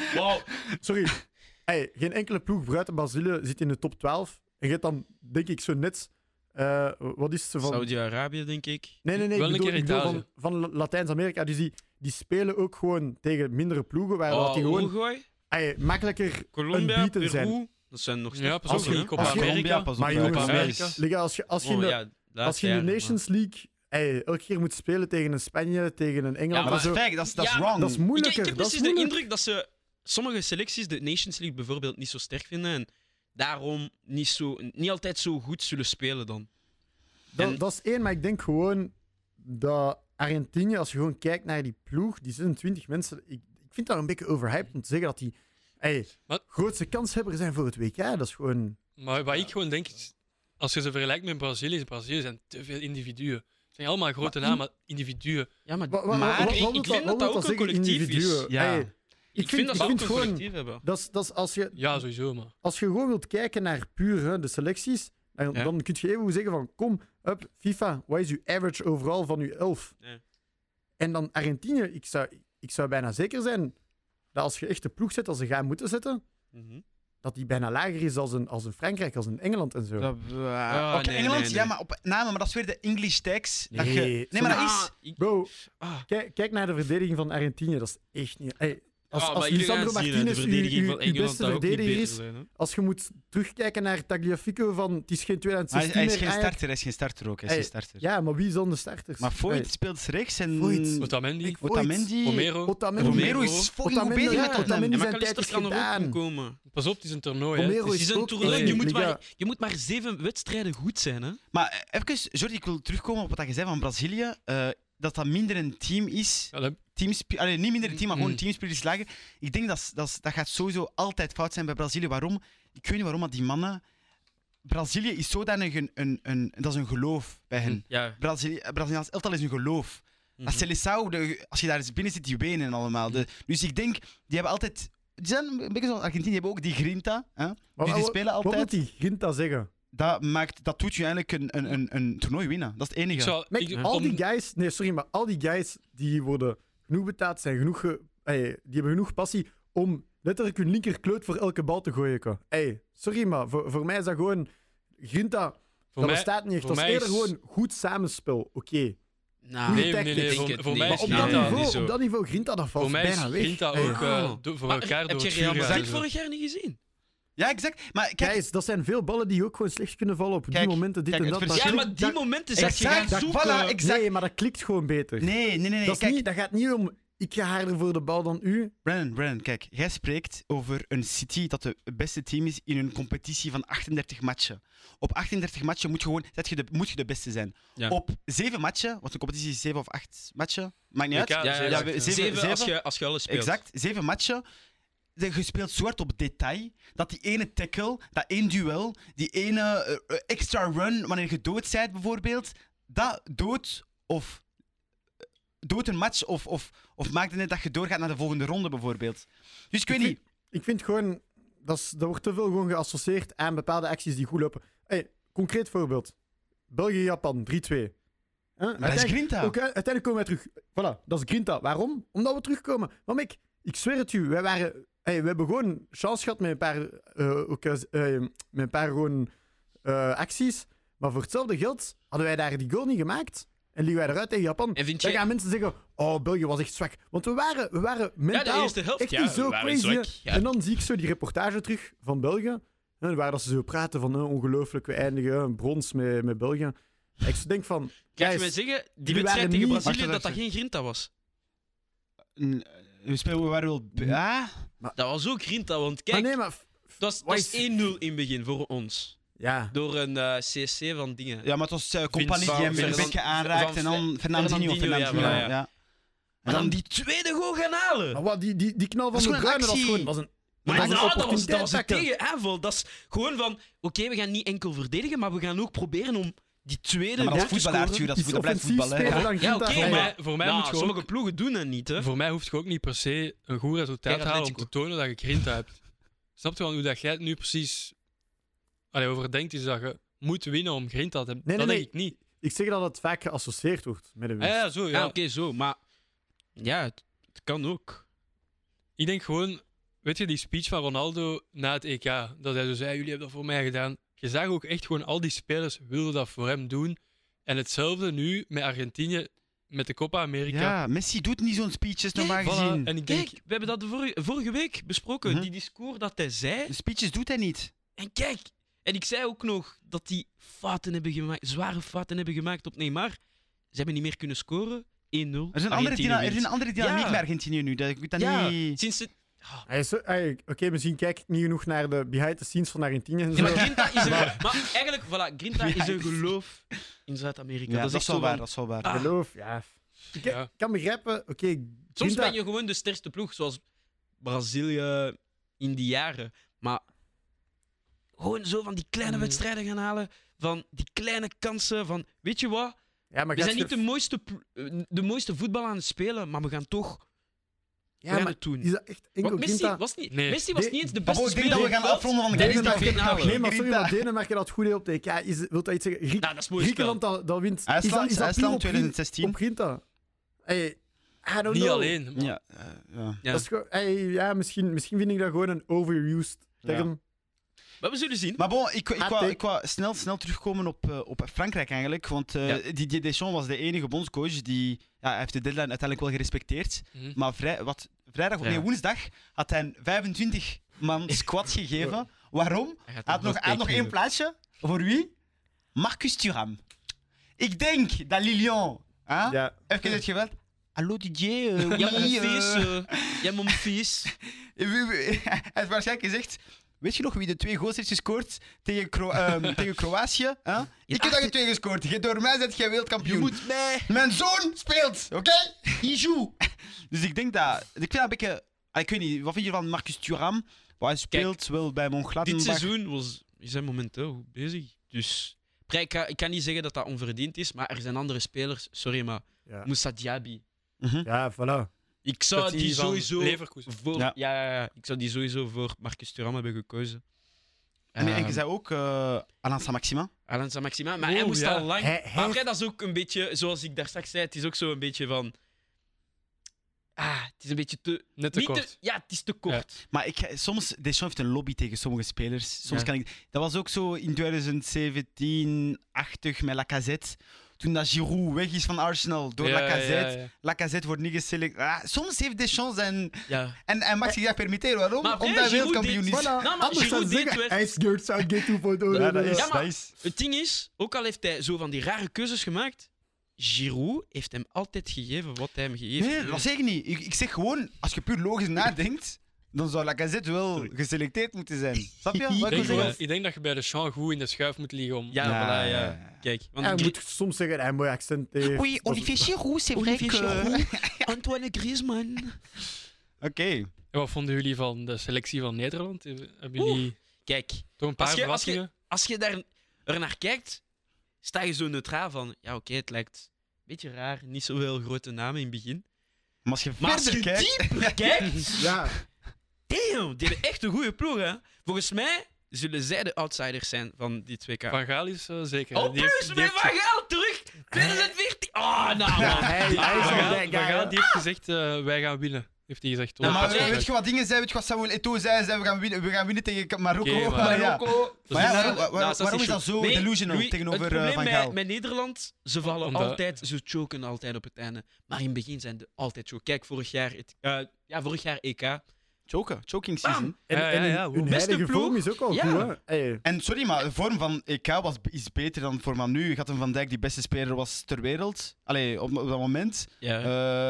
Sorry. (laughs) Ey, geen enkele ploeg buiten Brazilië zit in de top 12. En je hebt dan, denk ik, zo net... eh, wat is ze van... Saudi-Arabië, denk ik. Nee, nee, nee. Wel ik een bedoel, keer ik bedoel Italië. van, van La- Latijns-Amerika. Dus die, die spelen ook gewoon tegen mindere ploegen, waar dat Oh, die gewoon Uruguay, ey, makkelijker Colombia, unbeaten Peru. zijn. Dat zijn nog Ja, steeds... pas Als op, je- hè. Copa als je- America. pas Maar bij jongens, elkaar. Amerika. Is- Liggen, als je, als je, in, Oh, de, ja, als laatste je in de jaren, Nations League ey, elke keer moet spelen tegen een Spanje, tegen een Maar Ja, Engeland en dat is zo, fake, dat is, dat is Ja, wrong. dat is Ik, moeilijker. ik heb dat is precies de moeilijk. indruk dat ze sommige selecties de Nations League bijvoorbeeld niet zo sterk vinden en daarom niet, zo, niet altijd zo goed zullen spelen dan. Dat, En- dat is één, maar ik denk gewoon dat Argentinië, als je gewoon kijkt naar die ploeg, die 26 mensen, ik, ik vind dat een beetje overhyped om te zeggen dat die ey, Wat? grootste kanshebber zijn voor het WK. Dat is gewoon... Maar wat ik gewoon denk, is, als je ze vergelijkt met Brazilië, is Brazilië zijn te veel individuen. Het zijn allemaal grote namen, maar individuen. Ja, maar, Wa- wa- Maar wa- wa- ik- wat ik moet vind dat dat wat moet ook een zeggen, collectief is. individuen? Ja. Ey, Ik ik, vind dat ik ze ook een vind gewoon, collectief hebben. dat is, dat is als, je, Ja, sowieso, maar... als je gewoon wilt kijken naar puur hè, de selecties, dan, Ja. dan kun je even goed zeggen van, kom, up, FIFA, wat is uw average overal van uw elf? Ja. En dan Argentinië, ik zou, ik zou bijna zeker zijn dat als je echt de ploeg zet als ze gaan moeten zetten, Mhm. dat die bijna lager is als een, als een Frankrijk, als een Engeland en zo. Dat- Ah, Oké, nee, Engeland, nee, nee. ja, maar op namen, maar dat is weer de English tags. dat je- Nee, nee, maar dat Ah, is... ik- Bro, ah. kijk, kijk naar de verdediging van Argentinië, dat is echt niet... Ey, als, Ah, maar als jullie gaan Lisandro zien, hè, Martinez de uw- verdediging uw- van uw Engeland beste daar ook niet verdediger beter is, zijn, hè. als je moet terugkijken naar Tagliafico van het is geen Hij, 2016 hij is meer, geen Ajax. starter, hij is geen starter ook. Hij is ah, Hey, geen starter. Ja, maar wie zijn de starters? Maar Voigt Hey, speelt rechts en... Voigt. Otamendi, ik- Voigt, Otamendi... Romero... Otamendi. Romero Romero. is fucking goed Otamendi, bezig met ja, Tottenham. Otamendi. En zijn McAllister tijd is kan er ook gedaan. om komen. Dus Pas op, het is een toernooi, hè. Romero Het is is een ook toernooi. echt- Je, moet Liga. maar- je moet maar zeven wedstrijden goed zijn, hè? Maar eh, even, Jordi, ik wil terugkomen op wat je zei van Brazilië. eh, dat dat minder een team is. Ja, dat- Teamspi- Allee, niet minder een team, maar gewoon Mm. teamspirit is lager. Ik denk dat, s- dat, s- dat gaat sowieso altijd fout zijn bij Brazilië. Waarom? Ik weet niet waarom, maar die mannen... Brazilië is zodanig een... een, een dat is een geloof bij hen. Mm. Ja. Brazilië, Braziliaans elftal is een geloof. Maar Mhm. Celissao, de- als je daar eens binnen zit, die wenen allemaal. De- dus ik denk, die hebben altijd... Die zijn een beetje zoals Argentinië, die hebben ook die grinta. Hè? Maar dus die wat- spelen Wat moet altijd. die Ginta zeggen? Dat, maakt, dat doet je eigenlijk een, een, een, een toernooi winnen. Dat is het enige. Ik zou- Mec, ik- al om- die guys, nee, sorry, maar al die guys die worden genoeg betaald, zijn genoeg, ge- ey, die hebben genoeg passie om letterlijk hun linkerkleut voor elke bal te gooien. ko. Ey, sorry, maar voor, voor mij is dat gewoon Grinta. voor dat mij, bestaat niet echt. voor Dat is mij eerder is- gewoon goed samenspel. Oké. Nou, Nee, ik nee, nee, denk voor- het voor niet. mij Maar is op niet- dat, nee, niet niveau, zo. op dat niveau, Grinta, dat valt voor mij bijna is weg. Ginta Hey. ook eh, do- voor Maar elkaar Heb door je het vuur Real Madrid gehaald. vorig jaar niet gezien? Ja, exact. Maar kijk, Guys, dat zijn veel ballen die ook gewoon slecht kunnen vallen op Kijk, die momenten, dit kijk, en het dat. dat verschil- Ja, klikt- maar die dat- momenten exact, zeg je gaan zoeken. voilà, exact. Nee, maar dat klikt gewoon beter. Nee, nee, nee. nee. dat, is Kijk, niet, dat gaat niet om, ik ga harder voor de bal dan u. Brandon, Brandon, kijk. Jij spreekt over een City dat het beste team is in een competitie van 38 matchen. Op 38 matchen moet je, gewoon, zet je, de, moet je de beste zijn. Ja. Op 7 matchen, want een competitie is 7 of 8 matchen, maakt niet uit. WK, Ja, ja, zeven. we- ja, zeven- zeven als zeven. je, als je alles speelt. Exact, zeven matchen. De- Je speelt zo hard op detail dat die ene tackle, dat één duel, die ene eh, eh, extra run wanneer je dood zijt bijvoorbeeld, dat dood of eh, dood een match of, of, of maakt het net dat je doorgaat naar de volgende ronde bijvoorbeeld. Dus ik weet Ik niet. Ik vind gewoon, dat, is, dat wordt te veel gewoon geassocieerd aan bepaalde acties die goed lopen. Hey, concreet voorbeeld. België-Japan, 3-2. Huh? Maar dat is Uiteindelijk- Grinta. ook, hè, uiteindelijk komen wij terug. Voilà, dat is Grinta. Waarom? Omdat we terugkomen. Maar Mick, ik zweer het u, wij waren... Hey, we hebben gewoon chance gehad met een paar, eh, ook, eh, eh, met een paar gewoon, eh, acties. Maar voor hetzelfde geld hadden wij daar die goal niet gemaakt. En liggen wij eruit tegen Japan. En vind Dan jij- gaan mensen zeggen, oh, België was echt zwak. Want we waren, we waren mentaal eerste helft, echt ja, niet zo we waren crazy. zwak, hè. ja. En dan zie ik zo die reportage terug van België. hè, Waar dat ze zo praten van, eh, ongelooflijk, we eindigen een brons met, met België. Ik zo denk van, Kan je mij guys, zeggen, die jullie wedstrijd tegen waren niet- Brazilië, Wacht, wacht, dat dat geen grinta was? N- We spelen waar wel. Ah, Dat was ook grinta, want maar kijk, nee, maar... f- dat is- wat dat is 1-0 in het begin voor ons. Ja, Door een eh, CSC van dingen. ja, maar het was eh, Compagnie Van- die hem een Fernan- beetje aanraakt van- en dan Fernandinho. Fernandinho, ja, Fernandinho, ja. voilà, ja. Maar dan die tweede goal gaan halen! maar wat, die, die, die knal Dat van is de gewoon een Bruyne was actie. gewoon... Was een, Maar dat dat, was een nou, dat was, dat was een opportuniteit pakken. tegenaanval. Dat is gewoon van, oké, we gaan niet enkel verdedigen, maar we gaan ook proberen om die tweede Maar dat goal is te voetbal, scoren. Arthur. Dat is iets voetbal, blijft offensiefs voetballen. spelen Ja. dan Ja, Grinta. oké, Voor maar- mij- voor mij Nou, moet je ook- sommige ploegen doen dat niet, hè. Voor mij hoeft je ook niet per se een goed resultaat Kijk, te halen om te Atletico. tonen dat je grinta hebt. Snap je wel hoe dat jij het nu precies allee, overdenkt? Is dat je moet winnen om grinta te hebben? Nee, dat nee, denk ik niet. Ik zeg dat het vaak geassocieerd wordt met een Ah, winst. ja, zo, Ja, ja. oké, zo, maar... Ja, het, het kan ook. Ik denk gewoon, weet je, die speech van Ronaldo na het EK, dat hij zo zei, jullie hebben dat voor mij gedaan. Je zag ook echt gewoon al die spelers wilden dat voor hem doen. En hetzelfde nu met Argentinië, met de Copa America. Ja, Messi doet niet zo'n speeches normaal Voilà, gezien. En ik denk, Kijk, we hebben dat de vorige, vorige week besproken, Mhm. die discours dat hij zei. Speeches doet hij niet. En kijk, en ik zei ook nog dat die fouten hebben gemaakt, zware fouten hebben gemaakt op Neymar. Ze hebben niet meer kunnen scoren. 1-0. Er is een andere, Argentinië dyna- er wint. is een andere dynamiek Ja. met Argentinië nu. Dat, ik weet dat Ja, niet... sinds het... Hij is zo- hij- Oké, misschien kijk ik niet genoeg naar de behind the scenes van Argentinië en Ja, zo. maar Grinta (laughs) is een... Maar eigenlijk, voilà, Grinta Ja, is een het is- geloof in Zuid-Amerika. Ja, dat is echt zo waar, van- dat is wel waar. Ah, Geloof, ja. Ik Ja. kan begrijpen, oké, Soms Grinta- ben je gewoon de sterkste ploeg, zoals Brazilië in die jaren. Maar gewoon zo van die kleine Mm. wedstrijden gaan halen, van die kleine kansen, van weet je wat, Ja, maar we gaat zijn niet je- de mooiste, plo- eh, de mooiste voetbal aan het spelen, maar we gaan toch Ja, maar het doen. is dat echt enkel Want Messi Grinta? was niet, Nee. Messi was De- niet eens de Maar beste goed, ik denk dat speler we op gaan het veld. afronden van Dit is Grinta. de finale. Nee, maar sorry, Grinta. maar Denemarken dat goed deed op de EK. Is, wil dat iets zeggen? Griek- Nou, dat is mooi Griekenland dat, dat wint. Is dat- IJsland, is dat puur IJsland op Grin- 2016. Op Grinta. Hey, I don't niet know. alleen. maar- Ja, eh, ja. Ja. Dat is gewoon- hey, ja, misschien, misschien vind ik dat gewoon een overused Ja. term. Maar we zullen zien. Maar bon, ik, ik, Hot wou, take. ik wou snel, snel terugkomen op, eh, op Frankrijk eigenlijk. Want eh Didier Deschamps was de enige bondscoach die... Ja, hij heeft de deadline uiteindelijk wel gerespecteerd. Mhm. Maar vrij, wat, vrijdag, Ja. nee, woensdag had hij een 25 (laughs) man squad gegeven. Waarom? Hij gaat Hij had een nog, hij had nog hot take één plaatsje. Voor wie? Marcus Thuram. Ik denk dat Lilian... Hè? Ja. Even het geweld. Hallo Didier, eh, doen. (laughs) Ja, oui, mon fils. eh, eh, Ja, mon fils. (laughs) Hij heeft waarschijnlijk gezegd. Weet je nog wie de twee goals heeft gescoord tegen, Kro- (laughs) ehm, tegen Kroatië? hè? (laughs) Ik heb achter- dat je twee gescoord. Je- door mij zet jij wereldkampioen. Je moet mij... Mijn zoon speelt, oké? (laughs) Il joue. (laughs) Dus ik denk dat. Ik vind dat een beetje. ah, Ik weet niet, wat vind je van Marcus Thuram? Maar hij speelt wel bij Dit Mönchengladbach. seizoen was, we zijn momenteel goed bezig. Dus Prij, ik, ga- ik kan niet zeggen dat dat onverdiend is, maar er zijn andere spelers. Sorry, maar Ja. Moussa Diaby. Mhm. Ja, voilà. Ik zou Dat die, die van sowieso Leverkusen. voor... Ja. Ja. Ja, ja, ik zou die sowieso voor Marcus Thuram hebben gekozen. En, en je Ehm, zei ook eh Alain Saint-Maximin. Alain Saint-Maximin, maar hij Oeh, moest ja. al lang... Hij- Maar hij- après, dat is ook een beetje, zoals ik daar straks zei, het is ook zo een beetje van... Ah, het is een beetje te... Net te niet kort. ja, het is te kort. Maar ik, ga- soms, Deschamps heeft een lobby tegen sommige spelers. Soms Ja. kan ik, dat was ook zo in 2017, 80 met Lacazette. Toen dat Giroud weg is van Arsenal door Ja, ja, Lacazette. ja, ja. Lacazette wordt niet geselecteerd. Ah, soms heeft Deschamps en, Ja. en hij mag zich dat permitteren. Waarom? Eh. Maar Omdat Brian hij Giroud wereldkampioen is. deed- Voilà. maar anders Giroud zou deed zeggen, werd- hij skeurt zou get to voor door. Ja, dat is- Ja, maar- dat is. Het ding is, ook al heeft hij zo van die rare keuzes gemaakt, Giroud heeft hem altijd gegeven wat hij hem gegeven Nee, heeft. dat zeg ik niet. Ik, ik zeg gewoon, als je puur logisch nadenkt, dan zou Lacazette wel geselecteerd moeten zijn. Snap je? Wat Ik ik wil denk, zeggen? wel- ik denk dat je bij de champ goed in de schuif moet liggen om... Ja, Ja, voilà, ja, ja. ja. Kijk, want Hij Gri- moet soms zeggen, hij mooi accent heeft. Oei, Dat is- Olivier Giroud, c'est vrai Olivier que... Giroud, Antoine Griezmann. Oké. En wat vonden jullie van de selectie van Nederland? Hebben jullie Kijk, toch een paar Als je- als je- verrassingen? als je daar er naar kijkt, sta je zo neutraal van, ja oké, het lijkt een beetje raar, niet zoveel grote namen in het begin. Maar als je Maar als verder je kijkt... (laughs) dieper kijkt, Ja, damn, die hebben echt een goede ploeg hè. Volgens mij zullen zij de outsiders zijn van die 2K. Van Gaal is eh, zeker. Oh, Die heeft- plus, die bij heeft- Van Gaal terug! 2014! Oh, nou Ja, man. hij, hij is Ah, Van al Gaal- die Van guy, Gaal hè. die heeft gezegd, eh, wij gaan winnen. Heeft hij gezegd. Ja, Ja, maar honderd weet, procent. je wat dingen zei? Weet je wat Samuel Eto'o zei? zei we, gaan winnen, we gaan winnen tegen Marokko. Oké, maar- maar (laughs) ja. Marokko. Maar ja, Dus- waarom, waar- Nou, dat is waarom niet is dat zo Nee, delusional Louis, tegenover het eh, probleem Van met- Gaal? Met, Nederland, ze vallen Omdat- altijd, ze choken altijd op het einde. Maar in het begin zijn ze altijd zo. Kijk, vorig jaar, het, eh, ja, vorig jaar EK. Choken, choking Bam! season. En, Ja, en ja, hun- ja, hun hoe- beste huidige ploeg. vorm is ook al Ja. goed, hè. Hey, En sorry, maar de vorm van EK was, is beter dan voor van nu. Gatten van Dijk, die beste speler was ter wereld. Allee, op, op dat moment. Ja.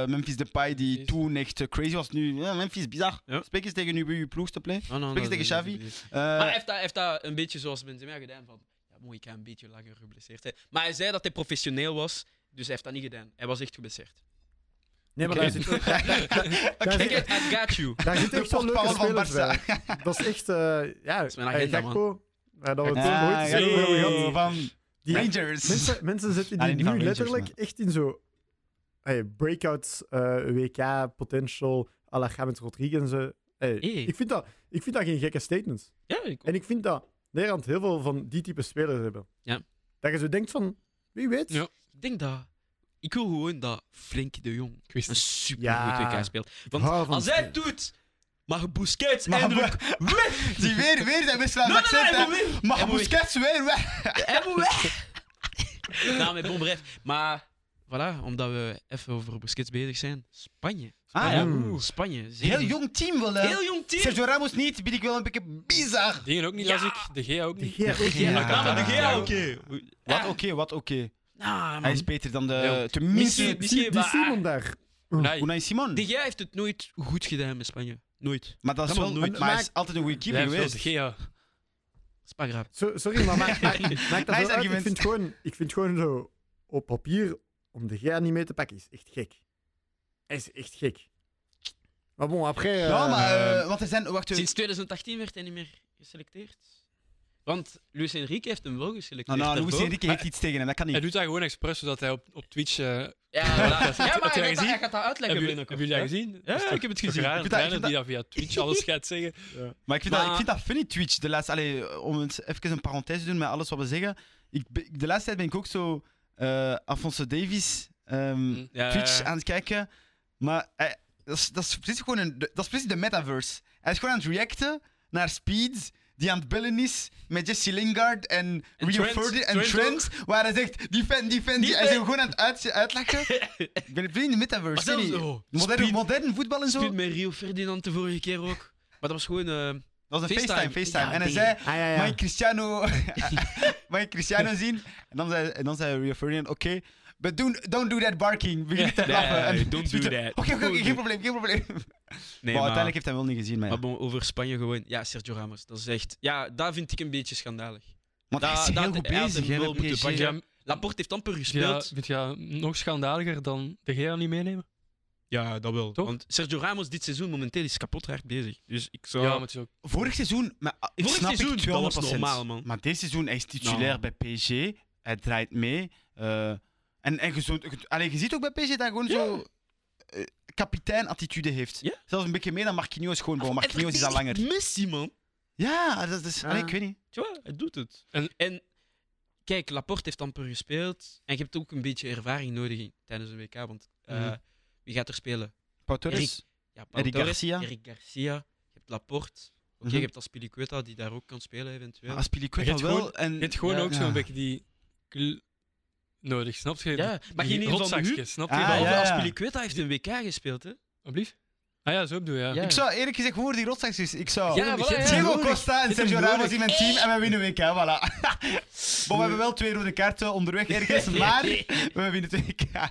Eh, Memphis Depay, die Precies. toen echt eh, crazy was. Nu, ja, Memphis, bizar. Ja. Spreek eens tegen uw, uw ploeg, Eh, te play. Oh, no, Spreek dat- eens dat- tegen Xavi. dat- dat- Eh, Maar (laughs) hij heeft dat, heeft dat een beetje zoals Benzema gedaan. Van, ja, mooi, ik ga een beetje langer geblesseerd zijn. Maar hij zei dat hij professioneel was, dus hij heeft dat niet gedaan. Hij was echt geblesseerd. Nee, maar Oké. daar zit ook- daar Kijk, zit- I got you. daar zit echt wel leuke portpaal van spelers Barca. bij. Dat is echt... eh, Ja, is mijn hey, agenda, man. Gakpo. Ja, dat we het Ah, nooit ja, gezien hebben ja, gehad. van Die- Rangers. Mensen, (laughs) mensen zitten Ah, die nee, die nu van Rangers, letterlijk echt in zo hey, breakouts, eh, WK, potential, à la James Rodriguez en zo. Hey, Hey. Ik, vind dat, ik vind dat geen gekke statements. Ja, ik En ik vind dat Nederland heel veel van die type spelers hebben. Ja. Dat je zo denkt van, wie weet. Ja. Ik denk dat. Ik wil gewoon dat Frenkie de Jong Ik wist een het. super Ja. goed WK speelt. Want hou van als hij het spelen. doet, mag (laughs) Busquets Maar- eindelijk weg. Die weer, weer zijn beste Nee, nee, nee, hij moet accent. weg. Hij Maar moet weg. Busquets weer weg. Hij moet weg. (laughs) Nou, met bon bref. Maar voilà, omdat we even over Busquets bezig zijn. Spanje. Ah, ja. Mm. Spanje. zeer- Heel jong team wel, hè. Heel jong team. Sergio Ramos niet, vind ik wel een beetje bizar. Dingen ook niet, Ja. las ik. De Gea ook Die niet. Gea ook Ja. niet. Ja, Nou, maar de Gea, Ja. oké. Wat Ja. oké, wat oké. Nou, Hij is man. beter dan de... Ja. Tenminste, Misschien- Die, die maar- Simon daar. Nee, Unai Simon. De Gea heeft het nooit goed gedaan met Spanje. Nooit. Maar dat is Helemaal wel... nooit. Maar hij is altijd een goede jij keeper hebt wel geweest. de Gea. Spagraaf. Zo- sorry, maar maak, maak, maak dat Nice wel uit. Ik argument. vind, gewoon, ik vind gewoon zo, op papier, om de Gea niet mee te pakken, is echt gek. Hij is echt gek. Maar bon, après... eh, Ja, maar... eh, want er zijn... Wacht even. Sinds 2018 werd hij niet meer geselecteerd. Want Luis Enrique heeft hem wel geselecteerd. Nou, nou, Luis daarvoor. Enrique heeft iets tegen hem. Dat kan Hij niet. doet dat gewoon expres, zodat hij op, op Twitch... eh hebben Ja, voilà. Dat- ja, dat maar heb hij je gaat, dat- gezien? hij gaat dat uitleggen jullie, binnenkort. hebben jullie dat hè? gezien? Ja, Dat is toch- ik heb het toch gezien. Raar, Ik een vind dat- ik trainer vind die dat via Twitch alles gaat zeggen. Maar ik vind, dat, ik Maar- vind dat funny, Twitch. De laatste, allee, om eens even een parenthese te doen met alles wat we zeggen. Ik, be- de laatste tijd ben ik ook zo eh Alfonso Davies ehm, Hm. Ja, Twitch ja, ja. aan het kijken. Maar hij- dat, is, dat, is precies gewoon een, dat is precies de metaverse. Hij is gewoon aan het reacten naar Speed, die aan het bellen is met Jesse Lingard en, En Rio Trent. Ferdinand en Trent Trent. Waar hij zegt, defend, defend. die- Hij is hem gewoon aan het uit, (laughs) uitlachen. ik ben in de metaverse. Maar ik weet zelfs- niet. oh, modern, Speed- modern voetbal en zo. Speed met Rio Ferdinand de vorige keer ook. Maar dat was gewoon... eh, Dat was een FaceTime. FaceTime. FaceTime. Ja, en hij die- zei... Ah, ja, ja. Mag ik Cristiano, (laughs) mag ik Cristiano zien? En dan zei, en dan zei Rio Ferdinand, oké, but don't, don't do that barking. (laughs) Begin niet te Nee, lachen. En don't do Oké, that. Oké, oké, Don't do- geen probleem, geen probleem. nee, maar maar, uiteindelijk heeft hij wel niet gezien, maar ja. maar bon, over Spanje gewoon. Ja, Sergio Ramos. Dat is echt... Ja, dat vind ik een beetje schandalig. Want hij is dat- heel dat- goed hij had hem bezig, hè, wel met moeten PSG. pakken. Ja, Laporte heeft amper ja, gespeeld. vind je dat nog schandaliger dan de Gea niet meenemen? Ja, dat wel. Toch? Want Sergio Ramos dit seizoen momenteel is kapot raar bezig. Dus ik zou... Ja, maar het is ook... Vorig seizoen, maar ah, ik Vorig snap seizoen, ik dat was 200%. normaal, man. Maar dit seizoen, hij is titulair bij PSG. Hij draait mee. eh, En, en je, zo, je- allee, je ziet ook bij PSG dat hij gewoon zo eh, kapitein-attitude heeft. Ja. Zelfs een beetje meer dan Marquinhos. Gewoon, bro. Marquinhos Oh, is al langer. Messi, man. Ja, dat is. allee, Ja. ik weet niet. Tja, hij doet het. En- En, kijk, Laporte heeft amper gespeeld. En je hebt ook een beetje ervaring nodig in- tijdens een WK. Want eh, Mhm. wie gaat er spelen? Pau Torres. Erik. Ja, Pau Eric Torres, Garcia. Eric Garcia. Je hebt Laporte. Oké, Mhm. Ah, je hebt Aspilicueta die daar ook kan spelen eventueel. Als Piliqueta Je hebt wel. gewoon- en, Je hebt gewoon Ja. ook zo'n Ja. beetje die kl- nodig, snap je? Ja, maar die in ieder geval nu- rotzakjes, snap je? Ah, Behalve Behalve ja. Oh, Aspilicueta heeft een WK gespeeld, hè? Alsjeblieft. Ah ja, zo bedoel je. Ja. Ja. Ik zou eerlijk gezegd voor die rotsacties. Ik zou. Ja, voilà, ja. Diego nodig. Costa en Dit is Sergio nodig. Ramos in mijn team en we winnen WK. Voilà. Maar we hebben wel twee rode kaarten onderweg (laughs) ergens, maar we winnen het WK. Dan,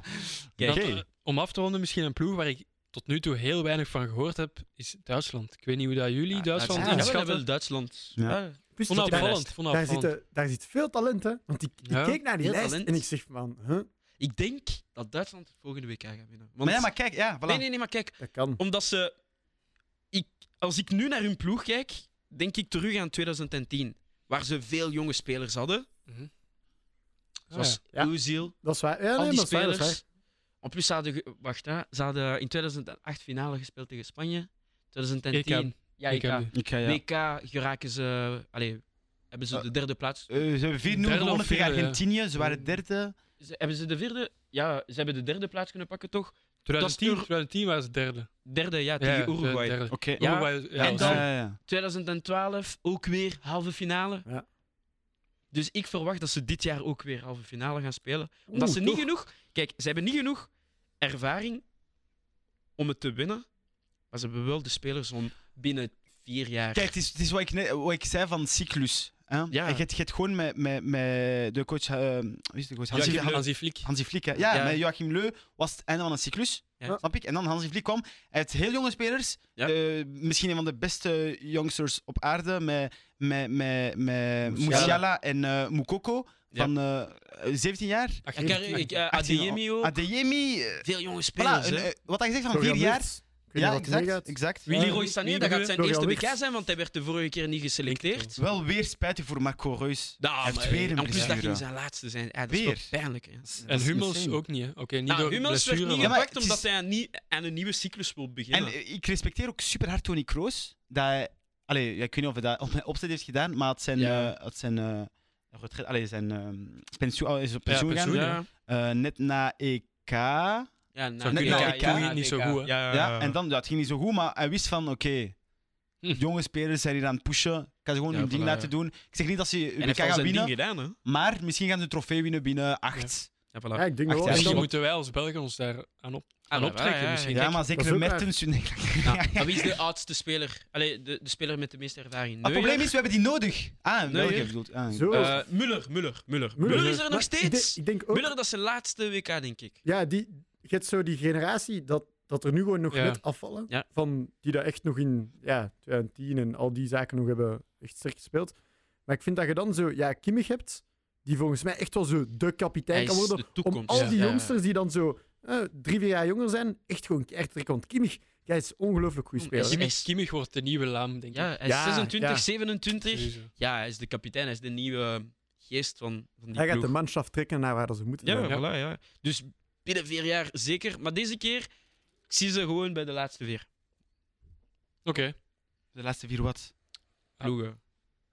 Kijk, eh, om af te ronden, misschien een ploeg waar ik tot nu toe heel weinig van gehoord heb, is Duitsland. Ik weet niet hoe dat jullie Duitsland Duitsland. Ja, wel, inschatten. wel Duitsland. Ah, Ja. Ja. Plus, daar, Onafvallend. daar, onafvallend. zit, daar zit veel talent, hè. Want ik, ik Ja. keek naar die Veel lijst talent. en ik zeg van, huh, Ik denk dat Duitsland het volgende WK gaat winnen. Want... Maar ja, maar kijk, ja, voilà. Nee, nee, nee, maar kijk, dat kan. omdat ze. Ik, als ik nu naar hun ploeg kijk, denk ik terug aan 2010, waar ze veel jonge spelers hadden. Zoals Mhm. Ah, Ja. Ozil, Dat is waar. Ja, al nee, die maar dat is waar, dat is waar. spelers. En plus, ze hadden, ge- wacht, hè, ze hadden in 2008 finale gespeeld tegen Spanje. 2010. E EK. Ja, E Ik EK. heb die. Ik ga, WK geraken ze. Allee, hebben ze Eh, de derde plaats? Eh, ze hebben 4-0 Derde gewonnen of tegen vierde, ja. Argentinië. Ze waren derde. Ze- hebben ze de vierde? Ja, ze hebben de derde plaats kunnen pakken, toch? 2010, Euro- 2010 waren ze derde. Derde, ja, Ja, tegen ja, Uruguay. derde. Oké. Ja, Uruguay, ja, en was- dan- ja. ja, ja. 2012 ook weer halve finale. Ja. Dus ik verwacht dat ze dit jaar ook weer halve finale gaan spelen. Omdat Oeh, ze niet toch. genoeg. Kijk, ze hebben niet genoeg ervaring om het te winnen. Maar ze hebben wel de spelers om binnen vier jaar. Kijk, het is, het is wat, ik net- wat ik zei van cyclus. Hè? Ja. Je, hebt, je hebt gewoon met, met, met de coach, eh, wie is de coach? Hansi, Joachim Han- Hansi Flick. Hansi Flick. hè. Ja, Ja. met Joachim Leu was het einde van een cyclus. Ja. Snap ik? En dan Hansi Flick kwam. Hij heeft heel jonge spelers. Ja. Eh, misschien een van de beste youngsters op aarde. Met, met, met, met Musiala. Musiala en eh Mukoko. Ja. Van eh, 17 jaar. En Kar- ik, eh, 18 Adeyemi ook. Adeyemi. eh, Veel jonge voilà, spelers. een, hè. eh, wat hij gezegd van Florian 4 jaar. Wirtz. Ik weet Ja, niet wat ermee exact. gaat. exact. Wie- Leroy Wie Sané, dat bedoel gaat je? zijn Florian eerste WK Wirtz. zijn, want hij werd de vorige keer niet geselecteerd. Wel weer spijtig voor Marco Reus. Nou, Hij heeft maar, weer een en plus dat blessure. ging zijn laatste zijn. Ja, dat is Weer. wel pijnlijk. Hè. En Hummels insane. ook niet, hè. Oké, niet Nou, door Hummels werd blessure, niet maar- Ja, maar gepakt het omdat is- hij aan, nie- aan een nieuwe cyclus wil En beginnen. eh, ik respecteer ook super hard Tony Kroos. Dat hij, allee, ja, ik weet niet of hij dat op (laughs) mijn opzet heeft gedaan, maar het zijn. Ja. eh, het zijn eh, retret- allee, zijn ehm, pensioen, oh, hij is op pensioen pensioen, gegaan. ja. Eh, net na EK. Ja, Ja, Zou nou, Nee, kunnen, ja, ja, ik ik doe kan- het niet zo goed, hè. Ja, Eh. en dan, ja, het ging niet zo goed, maar hij wist van: oké, Hm. jonge spelers zijn hier aan het pushen. Ik kan ze gewoon Ja, hun ding voilà, laten ja. doen. Ik zeg niet dat ze En WK heeft al gaan zijn winnen, ding gedaan, hè? Ah, maar misschien gaan ze een trofee winnen binnen acht. Ja, Ja, ik denk Ach, ja, wel. En Misschien dan- moeten wij als Belgen ons daar aan, op, aan optrekken. Ah, nou, misschien. Ja, Kijk, maar dat zeker is ook Mertens. Nee, Nou, (laughs) Maar wie is de oudste speler? Allee, de, de speler met de meeste ervaring. Ah, Maar het probleem is, we hebben die nodig. Ah, Nee, welke ja. bedoelt? Ah, Zo. Muller, Müller, Müller, Müller. Müller is er Maar Eh, nog ik steeds. denk- Ik denk Müller, ook... dat is zijn laatste WK, denk ik. Ja, die, je hebt zo die generatie dat, dat er nu gewoon nog Ja. net afvallen. Ja. Van die dat echt nog in ja, 2010 en al die zaken nog hebben echt sterk gespeeld. Maar ik vind dat je dan zo ja, Kimmich hebt, die volgens mij echt wel zo de Hij kapitein kan is worden. de toekomst. om al ja. die Ja. jongsters die dan zo eh, drie, vier jaar jonger zijn, echt gewoon keihard trekken. Want Kimmich, jij is ongelooflijk goed Kom, speler. is- Kimmich, Kimmich wordt de nieuwe laam, denk ik. Ja, hij is Ja, 26, ja. 27. Sowieso. Ja, hij is de kapitein. Hij is de nieuwe geest van, van die Hij gaat ploeg. de manschaft trekken naar waar dat ze moeten. Ja, zijn. Ja. Voilà, ja. Dus binnen vier jaar zeker. Maar deze keer, ik zie ze gewoon bij de laatste vier Oké. De laatste vier wat? ploegen.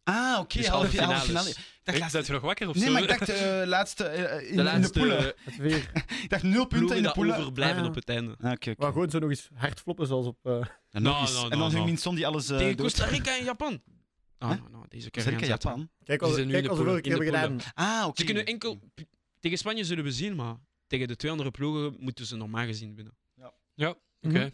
Ah, oké. Dus halve halve finale. halve finales. finale. Ik dacht Hey, laatste- Zijn je nog wakker of Nee, zo? maar ik (laughs) dacht eh, laatste eh, in, De in laatste de poelen. eh, Dat (laughs) is weer- Ik dacht nul punten ploegen in de die poelen. overblijven Ah, ja. op het einde. Ah, oké, oké. Maar gewoon zo nog eens hard floppen zoals op... eh, En nog Nou, eens. nou, nou, en dan nou. Huminson die alles eh Tegen dood- Costa Rica en Japan. Oh, Huh? no, no, deze keer Costa Rica, gaan ze het Japan. Kijk, Die als, zijn nu kijk in als de we vorige poelen. keer In de hebben poelen. gedaan. Ah, oké. Ze kunnen enkel. Tegen Spanje zullen we zien, maar tegen de twee andere ploegen moeten ze normaal gezien winnen. Oké.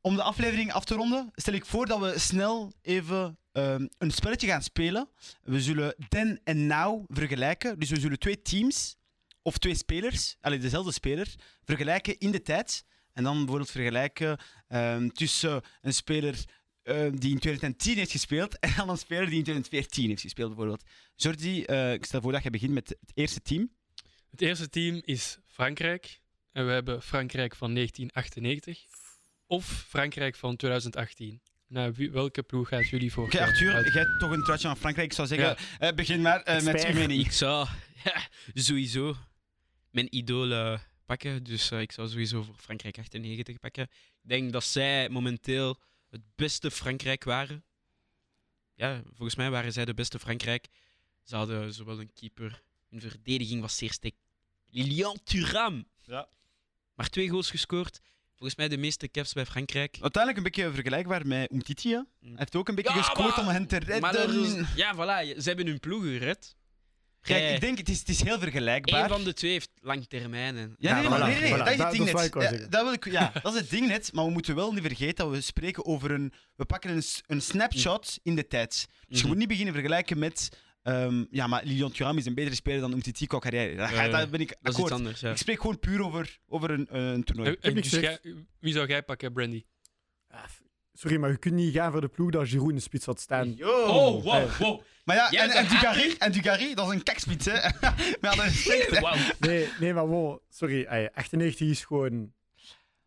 Om de aflevering af te ronden, stel ik voor dat we snel even ehm, een spelletje gaan spelen. We zullen then en now vergelijken. Dus we zullen twee teams of twee spelers, allee, dezelfde speler, vergelijken in de tijd. En dan bijvoorbeeld vergelijken ehm, tussen een speler ehm, die in 2010 heeft gespeeld (laughs) en dan een speler die in 2014 heeft gespeeld, bijvoorbeeld. Jordi, eh, ik stel voor dat je begint met het eerste team. Het eerste team is Frankrijk. En we hebben Frankrijk van 1998 of Frankrijk van 2018. Nou, wie- welke ploeg gaat jullie voor? Oké, Arthur, jij hebt toch een truitje aan Frankrijk. Ik zou zeggen, eh, begin maar eh, met (laughs) Expert. uw mening. Ik zou. Ja, sowieso. mijn idolen pakken. Dus eh, ik zou sowieso voor Frankrijk 98 pakken. Ik denk dat zij momenteel het beste Frankrijk waren. Ja, volgens mij waren zij de beste Frankrijk. Ze hadden zowel een keeper, hun verdediging was zeer sterk. Lilian Thuram. Ja. Maar twee goals gescoord. Volgens mij de meeste caps bij Frankrijk. Uiteindelijk een beetje vergelijkbaar met Umtiti. hè. Hij heeft ook een beetje Mm. Ja, gescoord maar- om hen te Maar dat redden. is- ja, voilà. je- Ze hebben hun ploeg gered. Kijk, Jij- ik denk, het is, het is heel vergelijkbaar. Eén van de twee heeft lang termijn. En... Ja, nee, Ja, maar voilà, nee, nee, voilà. dat is het Dat- dat ding is wat net. ik wou Ja, zeggen. dat wil ik- Ja, (laughs) dat is het ding net, maar we moeten wel niet vergeten dat we spreken over een... We pakken een, s- een snapshot in de tijd. Dus je Mm. Mhm. moet niet beginnen vergelijken met... ehm, ja, maar Lilian Thuram is een betere speler dan Umtiti qua carrière. Daar, ga- Ja, daar ben ik Dat is iets akkoord. anders. Ja. Eh, Ik spreek gewoon puur over, over een, eh, een toernooi. En- en niks dus gezegd. jij- wie zou jij pakken, Brandy? Ah, f- Sorry, maar je kunt niet gaan voor de ploeg dat Giroud in de spits had staan. Eh, Oh, wow, wow. Maar ja, Jij en, hebt en, een Dugarry, en Dugarry, dat is een kakspits, hè. (laughs) maar dat is (laughs) echt- Wow. Nee, nee maar wow, sorry. ey, 98 is gewoon...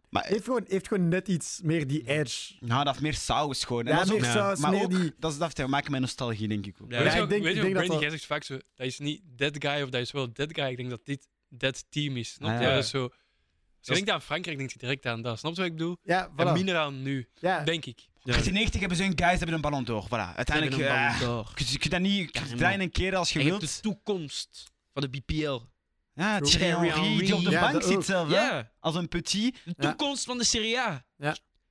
Maar- Heeft gewoon, heeft gewoon net iets meer die edge. Nou, dat heeft meer saus gewoon. En Ja, dat is ook- meer ja, saus, maar meer ook, die... dat, is, dat heeft te maken met nostalgie, denk ik ook. Ja. weet ik je, ook- denk- weet je ik ook, denk dat Brandy, dat- jij zegt vaak zo, dat is niet dead guy of dat is wel dead guy. Ik denk dat dit dead team is. Snap Ah, je? ja. Dat is zo. Als je is- denkt aan Frankrijk, denk je direct aan dat. Snap je wat ik bedoel? Ja, En voilà. Eh, minder aan nu, Ja, denk ik. Ja. 90 hebben zo'n guys, hebben een ballon door. Voilà. Uiteindelijk, Hebben een eh, Ballon d'Or. je kunt- je kunt dat niet je kunt draaien een keer als je En je hebt de wilt. toekomst van de BPL. Ja, True. Thierry Thierry Henry, die op de Henry. Ja, bank dat ook. zit zelf, hè. Ja, Als een petit. de Ja. toekomst van de Serie A.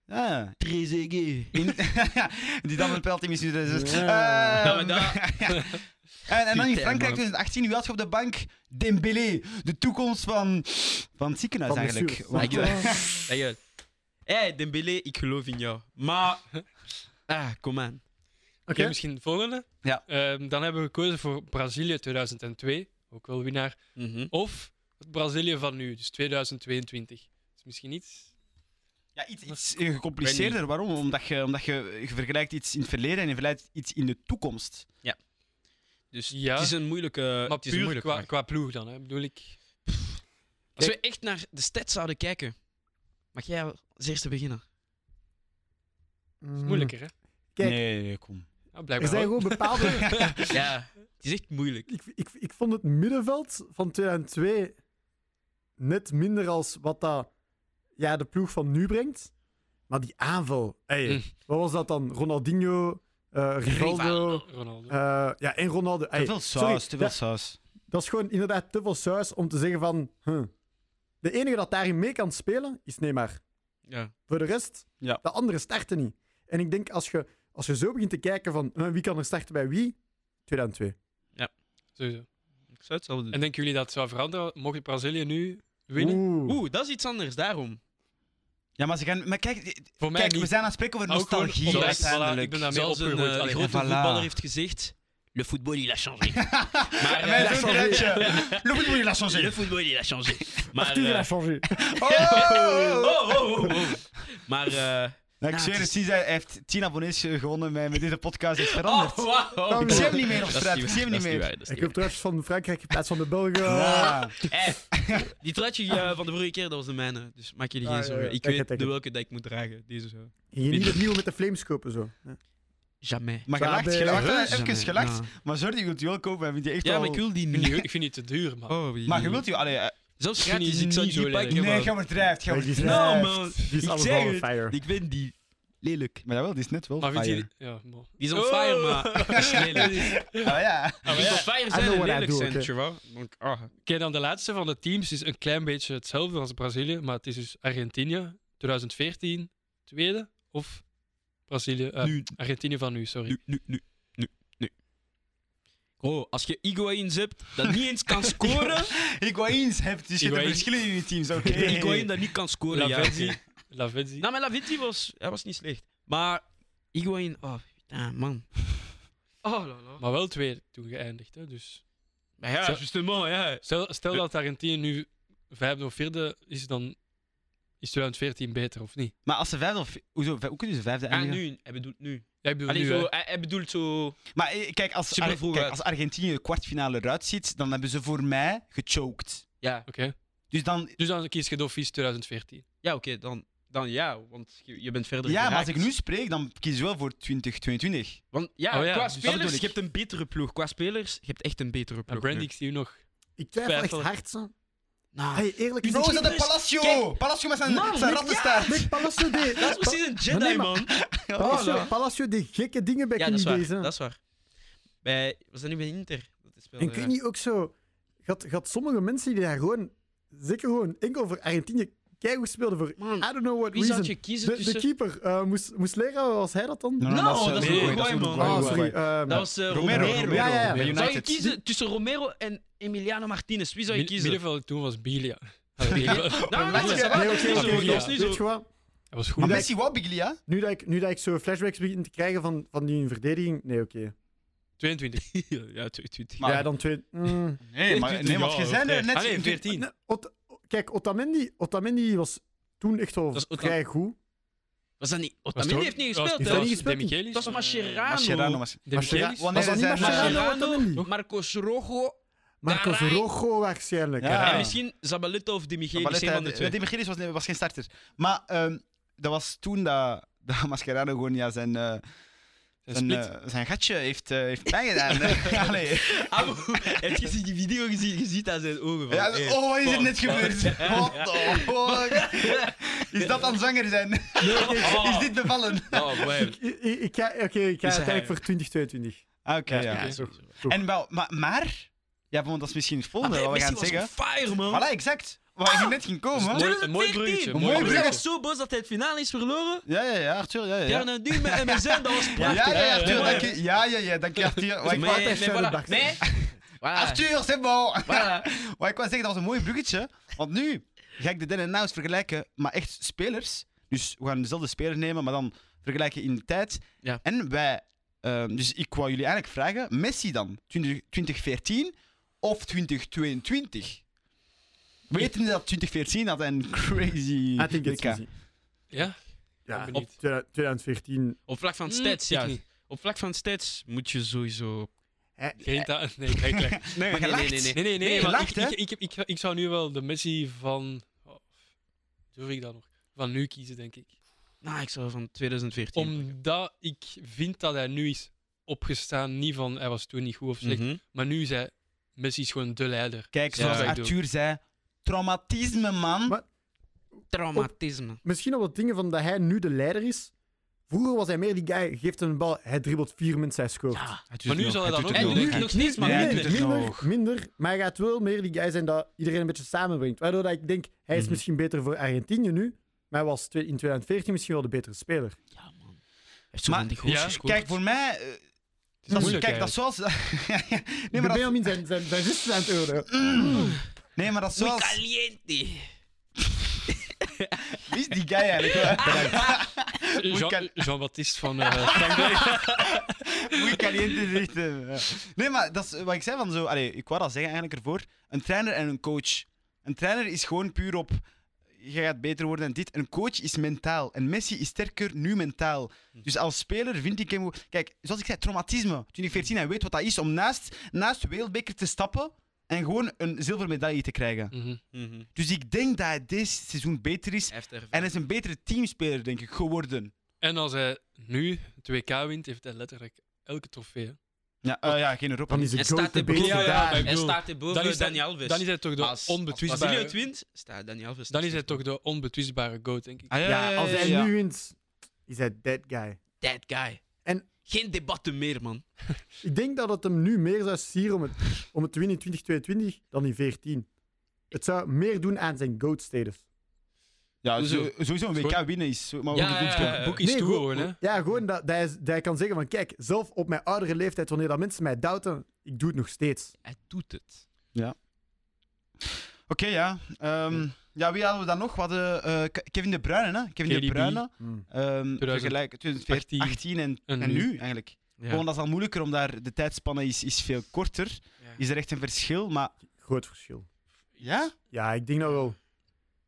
Ja. Trezeguet. In- (laughs) die dan een penalty misschien. dus- dus- Ja. Eh, Ja, maar dat- (laughs) en, en dan in Putain, man. Frankrijk 2018, wie had je op de bank? Dembélé, de toekomst van, van het ziekenhuis Van eigenlijk. blessure. Want, Ja. eh, Hé, hey, Dembélé, ik geloof in jou. Maar... (laughs) Ah, kom aan. Oké, oké. misschien het volgende. Ja. Ehm, dan hebben we gekozen voor Brazilië 2002, ook wel winnaar. Mhm. Of het Brazilië van nu, dus 2022. Dat is misschien iets. Eh, Ja, iets, iets eh, gecompliceerder. Waarom? Omdat, je, omdat je, je vergelijkt iets in het verleden en je vergelijkt iets in de toekomst. Dus Ja. het is een moeilijke, maar het is een puur moeilijke qua, vraag. qua ploeg dan, hè, bedoel ik. Als we echt naar de stats zouden kijken, mag jij als eerste beginnen? Dat Mm. is moeilijker, hè? Kijk. Nee, nee, kom. Ja, Er blijkbaar zijn wel. Mm. gewoon bepaalde... Ja, (laughs) het is echt moeilijk. ik, ik, ik vond het middenveld van 2002 net minder als wat dat, ja, de ploeg van nu brengt. Maar die aanval, hey, Hm. Mm. wat was dat dan? Ronaldinho, eh, Rivaldo. Ronaldo. eh, ja, en Ronaldo. Hey, Te veel sorry, saus, te veel dat, saus. dat is gewoon inderdaad te veel saus om te zeggen van... huh. De enige dat daarin mee kan spelen, is Neymar. Ja. Voor de rest, Ja. de anderen starten niet. En ik denk, als je, als je zo begint te kijken van eh, wie kan er starten bij wie, 2002. Sowieso. Ik zou het zelf doen. En denken jullie dat het zou veranderen? Mocht Brazilië nu winnen? Oeh. Oeh, dat is iets anders, daarom. Ja, maar, ze gaan, maar kijk, Voor mij kijk we niet. zijn aan het spreken over Maar ook gewoon nostalgie omdat- uiteindelijk. voilà, ik ben daarmee Zoals een opgegroeid. eh, Allee, grote voilà. voetballer heeft gezegd, le football il a changé. maar En eh, wij dat doen is een wel rijtje. Le football, il a changé. le football il a changé. Maar, Arthur, eh, il a (laughs) changé. Oh! oh, oh, oh, oh. maar eh, Ja, ik Ja, zweer het het, is- Cis, hij heeft 10 abonnees eh, gewonnen met, met deze podcast. is veranderd. oh, wow. Ik Oh. zie hem niet meer op Dat is straat. Ik waar, zie hem dat niet is meer. waar, dat is Ik niet heb trouwens van Frankrijk in plaats van de Belgen. eh, Ja. Hey, die truitje eh, van de vorige keer, dat was de mijne. Dus maak jullie Ah, geen ja, zorgen. ja. Ik Kijk weet het, kijk de het. welke dat ik moet dragen. Deze zo. Je niet opnieuw met de flames kopen zo. Jamais. Maar je Waar lacht, ben je je? lacht. Jamais. eh, Even gelacht. Nou. Maar Jordi, je wilt die wel kopen. Hij vindt die echt Ja, wel... maar ik wil die Ik vind niet. die- ik vind die te duur, man. Oh, die- Maar je wilt die... Allee, eh, Zelfs Ik vind gratis, die ik zou niet die zo niet pakken. lelijk. nee, man. je overdrijft. Je Nee, die is- overdrijft. Nou, Nee. man. Die is Ik alles zeg behalve het. fire. Ik vind die lelijk. Maar jawel, die is net wel Maar vind fire. je die... Ja, bon. Die is on Oh. fire, (laughs) maar die is lelijk. (laughs) Ah, ja. Die is on fire zijn know en what I lelijk do, zijn, okay. tjewa. Want, ah, Oké, dan de laatste van de teams is een klein beetje hetzelfde als Brazilië, maar het is dus Argentinië 2014 tweede of Brazilië, eh, Nu, Argentinië van nu, sorry. nu, nu, nu, nu, nu. Oh, als je Higuain hebt dat niet eens kan scoren, Higuaïns hebt, dus je hebt Higuaín. verschillen in je teams, (laughs) oké. Higuain dat niet kan scoren, ja. Lavezzi, oké. Lavezzi. Nou, maar Lavitti was, hij was niet slecht. Maar Higuain, oh, putain, man. Oh, la la. Maar wel tweede toen geëindigd, hè? Dus Maar ja, Zo- justement, ja. stel, stel dat Argentinië nu vijfde of vierde is, dan is 2014 beter of niet? Maar als ze vijfde of... Hoezo? Hoe kunnen ze vijfde En eindigen? Ah, nu, hij bedoelt nu. Ja, ik bedoel Allee, nu, zo, hè. hij, hij bedoelt zo... Maar eh, kijk, als, Super Ar- vroeg kijk, uit. als Argentinië de kwartfinale eruit ziet, dan hebben ze voor mij gechoked. Ja, Oké. Dus dan... Dus dan kies je Dofies 2014. ja oké, dan, dan ja, want je, je bent verder Ja, maar als geraakt. ik nu spreek, dan kies ik wel voor 2022. Want ja, Oh ja, qua dus dat spelers, bedoel ik. je hebt een betere ploeg. Qua spelers, je hebt echt een betere En ploeg. Brandy, nu. ik zie u nog. Ik twijfel echt Twijfel. hard. Zo. Nou, Hey, eerlijk Bro, is gezegd- dat een Palacio? Kijk. Palacio met zijn, Man, zijn met- rattenstaart. Nee, Palacio deed, (laughs) dat is precies een Jedi, Maar nee, maar- man. Palacio, Palacio deed gekke dingen bij Ja, dat is waar. Kunidays. hè. Dat is waar. Bij, was dat nu bij Inter? Dat is wel, En eh, kun je niet ook zo... Gaat, gaat sommige mensen die daar gewoon... Zeker gewoon enkel voor Argentinië keigoed speelden voor... Man, I don't know what Wie Ah, reason. zou je kiezen De, tussen... de keeper, eh, moest, moest leren, was hij dat dan? No, eh, dat is Uruguay, Uruguay, dat is man. Uruguay. Ah, sorry. ehm, dat was eh, Romero, Romero. Romero, Ja, ja, ja. bij Zou je Zou je United. kiezen tussen Romero en Emiliano Martinez? Wie zou je Mid- kiezen? Middenveld toen was Bilia. Allee, ik- Nou, nou, Laat dat je- is waar, nee, dat is oké, niet oké, zo, oké. dat is niet Weet je zo. wat? Dat was Maar goed. Messi wou Biglia. Nu dat, ik, nu dat ik zo flashbacks begin te krijgen van, van die verdediging... Nee, oké. 22. ja, 22. Maar- Ja, dan twee... Mm. Nee, maar, nee, want je zei er net... Ah, nee, 14. Nee, Ot- kijk, Otamendi, Otamendi was toen echt al Dat is Ota- vrij goed. Was dat niet? Was Otamendi toch- heeft niet was- gespeeld, is hè? Dat niet was gespeeld? De Michelis? Dat was Mascherano. Mascherano. Mas- De Mascherano- Michelis? Wanneer Was dat is niet hij... Mascherano? Mascherano. Otamendi. Marcos Rojo. Marcos Garay. Rojo waarschijnlijk. Ja. hè. En misschien Zabaleta of Di Maar eh, Michelis, let, een van de hij- twee. Di Michelis was, was geen starter. Maar ehm, dat was toen dat, (laughs) dat Mascherano gewoon ja, zijn, eh, Een zijn, split. eh, zijn gatje heeft, eh, heeft bijgedaan. hè. Allee. Abu, (laughs) heb je die video gezien? Je ziet aan zijn ogen van... Ja, hey. oh, wat is er net fuck. gebeurd? What the fuck? Is dat dan zwanger zijn? Is dit bevallen? Oh, man. Ik, ik, ik ga, oké, ik ga Is hij- uiteindelijk voor 2022. Oké, Ja, ja. oké. sowieso. En wel, maar, maar... Ja, want dat is misschien het Maar volgende wat we Messi gaan was Ah. zeggen. on fire, man. Voilà, exact. Waar je net ging komen. hè. Mooi- een mooi 2014. bruggetje, mooi Maar Hij was bruggetje. zo boos dat hij het finale is verloren. Ja, ja, ja, Arthur, ja, ja. Ja, Ja, een duw met MSN, dat was ja, prachtig. ja, ja, Mooi. Arthur, dank je. Ja, ja, ja, dank je, Arthur. Wat ik Maar- wou- altijd maar zo voilà. de bak. Nee. (laughs) Voilà. Arthur, c'est bon. Voilà. Wat ik wou zeggen, dat was een mooi bruggetje. Want nu ga ik de Den en Nouns vergelijken, maar echt spelers. Dus we gaan dezelfde speler nemen, maar dan vergelijken in de tijd. Ja. En wij... ehm, dus ik wou jullie eigenlijk vragen, Messi dan? 20, 2014 of 2022? Weten jullie dat 2014 had een crazy... I think it's WK? easy. Ja? Ja, Ik ben op 2014. Op vlak van Mm, stats, ja. ik niet. Op vlak van stats moet je sowieso... Hij- Geen ta- Nee, ik krijg gelijk. Nee, maar je nee, lacht. nee, Nee, nee, nee. Nee, je maar lacht, ik, hè? ik, ik, heb- ik, ik zou nu wel de Messi van... oh, durf ik dat nog? Van nu kiezen, denk ik. Nou, ik zou van 2014... Omdat ik vind dat hij nu is opgestaan. Niet van, hij was toen niet goed of slecht. Mhm. Maar nu is hij... Messi is gewoon de leider. Kijk, Ja, zoals ik Arthur zei, traumatisme, man. Maar- Traumatisme. Misschien op wat dingen van dat hij nu de leider is. Vroeger was hij meer die guy, geeft een bal, hij dribbelt vier mensen, hij scoort. Ja. Maar nu zal hij dan ook En nog. nu nog steeds, maar Ja, hij minder, minder. doet het minder, nog. minder, maar hij gaat wel meer die guy zijn dat iedereen een beetje samenbrengt. Waardoor dat ik denk, hij is Mhm. misschien beter voor Argentinië nu, maar hij was twe- in 2014 misschien wel de betere speler. Ja, man. Hij heeft zo Maar- van die goals Ja. gescoord. Kijk, voor mij... eh, Het dat is- moeilijk kijk, dat eigenlijk. is zoals... (laughs) nee, Nee, maar maar dat, zijn, zijn, zijn zussen aan het oordelen. nee, maar dat is Muy zoals... caliente. Wie is die guy (laughs) eigenlijk? Jean- (laughs) Moet ik- Jean-Baptiste van eh, Frankrijk. Moet caliente zegt. Nee, maar dat is eh, wat ik zei van zo. Allee, ik wou dat zeggen eigenlijk ervoor. Een trainer en een coach. Een trainer is gewoon puur op. Je gaat beter worden en dit. Een coach is mentaal. En Messi is sterker nu mentaal. Dus als speler vind ik hem. goed. Kijk, zoals ik zei, traumatisme. 2014, hij weet wat dat is om naast, naast de wereldbeker te stappen. En gewoon een zilveren medaille te krijgen. Mhm. Dus ik denk dat hij dit seizoen beter is. Heftig. En hij is een betere teamspeler, denk ik, geworden. En als hij nu het WK wint, heeft hij letterlijk elke trofee. hè. Ja, eh, ja geen Europa. Dan is Hij het grote staat beest erboven. Ja, ja, daar. maar ik Hij bedoel, staat erboven dan dan is dat- Dani Alves. Dan is hij toch de Als- Als Brazilië het onbetwistbare... wint, staat Dani Alves. Dan is hij toch de onbetwistbare goat, denk ik. Ah, Ja, als hij ja. nu wint, is hij dead guy. That guy. En- Geen debatten meer, man. Ik denk dat het hem nu meer zou sieren om het, om het te winnen in 2022 dan in 14. Het zou meer doen aan zijn goat status. Ja, Hoezo? zo- Dus, eh, sowieso een WK Gewoon- winnen is. Maar ook Ja, een goed ja, boek. ja. Eh, Boek is toe gewoon- gewoon, hè. Ja, gewoon dat, dat, hij, dat hij kan zeggen van kijk, zelf op mijn oudere leeftijd, wanneer dat mensen mij douten, ik doe het nog steeds. Hij doet het. Oké, ja. Ehm, ja, wie hadden we dan nog? We hadden eh, Ke- Kevin De Bruyne, hè? Kevin De KDB. Bruyne. Hmm. ehm 2018. vergelijk 2018 en, en, En nu, nu. eigenlijk. Ja. Gewoon, dat is al moeilijker, omdat de tijdspanne is, is veel korter. Ja. Is er echt een verschil? Maar Groot verschil. ja? Ja, ik denk dat wel.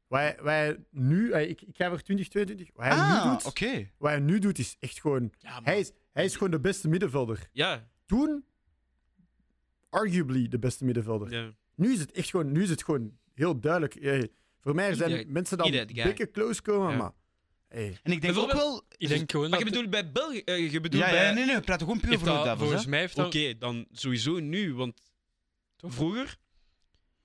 Wij, wij nu, eh, ik, ik ga voor 2022. Wat hij, nu ah, doet, oké. wat hij nu doet is echt gewoon. Ja, man. Hij is, hij is gewoon de beste middenvelder. Ja. Toen, arguably de beste middenvelder. ja. Nu is het echt gewoon, nu is het gewoon heel duidelijk. Eh, voor mij zijn Ieder- mensen dan ieder guy. dikke close komen, Ja. maar. eh, Hey. En ik denk ook wel... Ik denk gewoon Maar dat... je bedoelt bij België... eh, je bedoelt Ja, bij... ja, nee, nee, we praten gewoon puur heeft voor de dat- duivels. hè. volgens mij heeft Oké, dat... dan sowieso nu, want Toch? vroeger...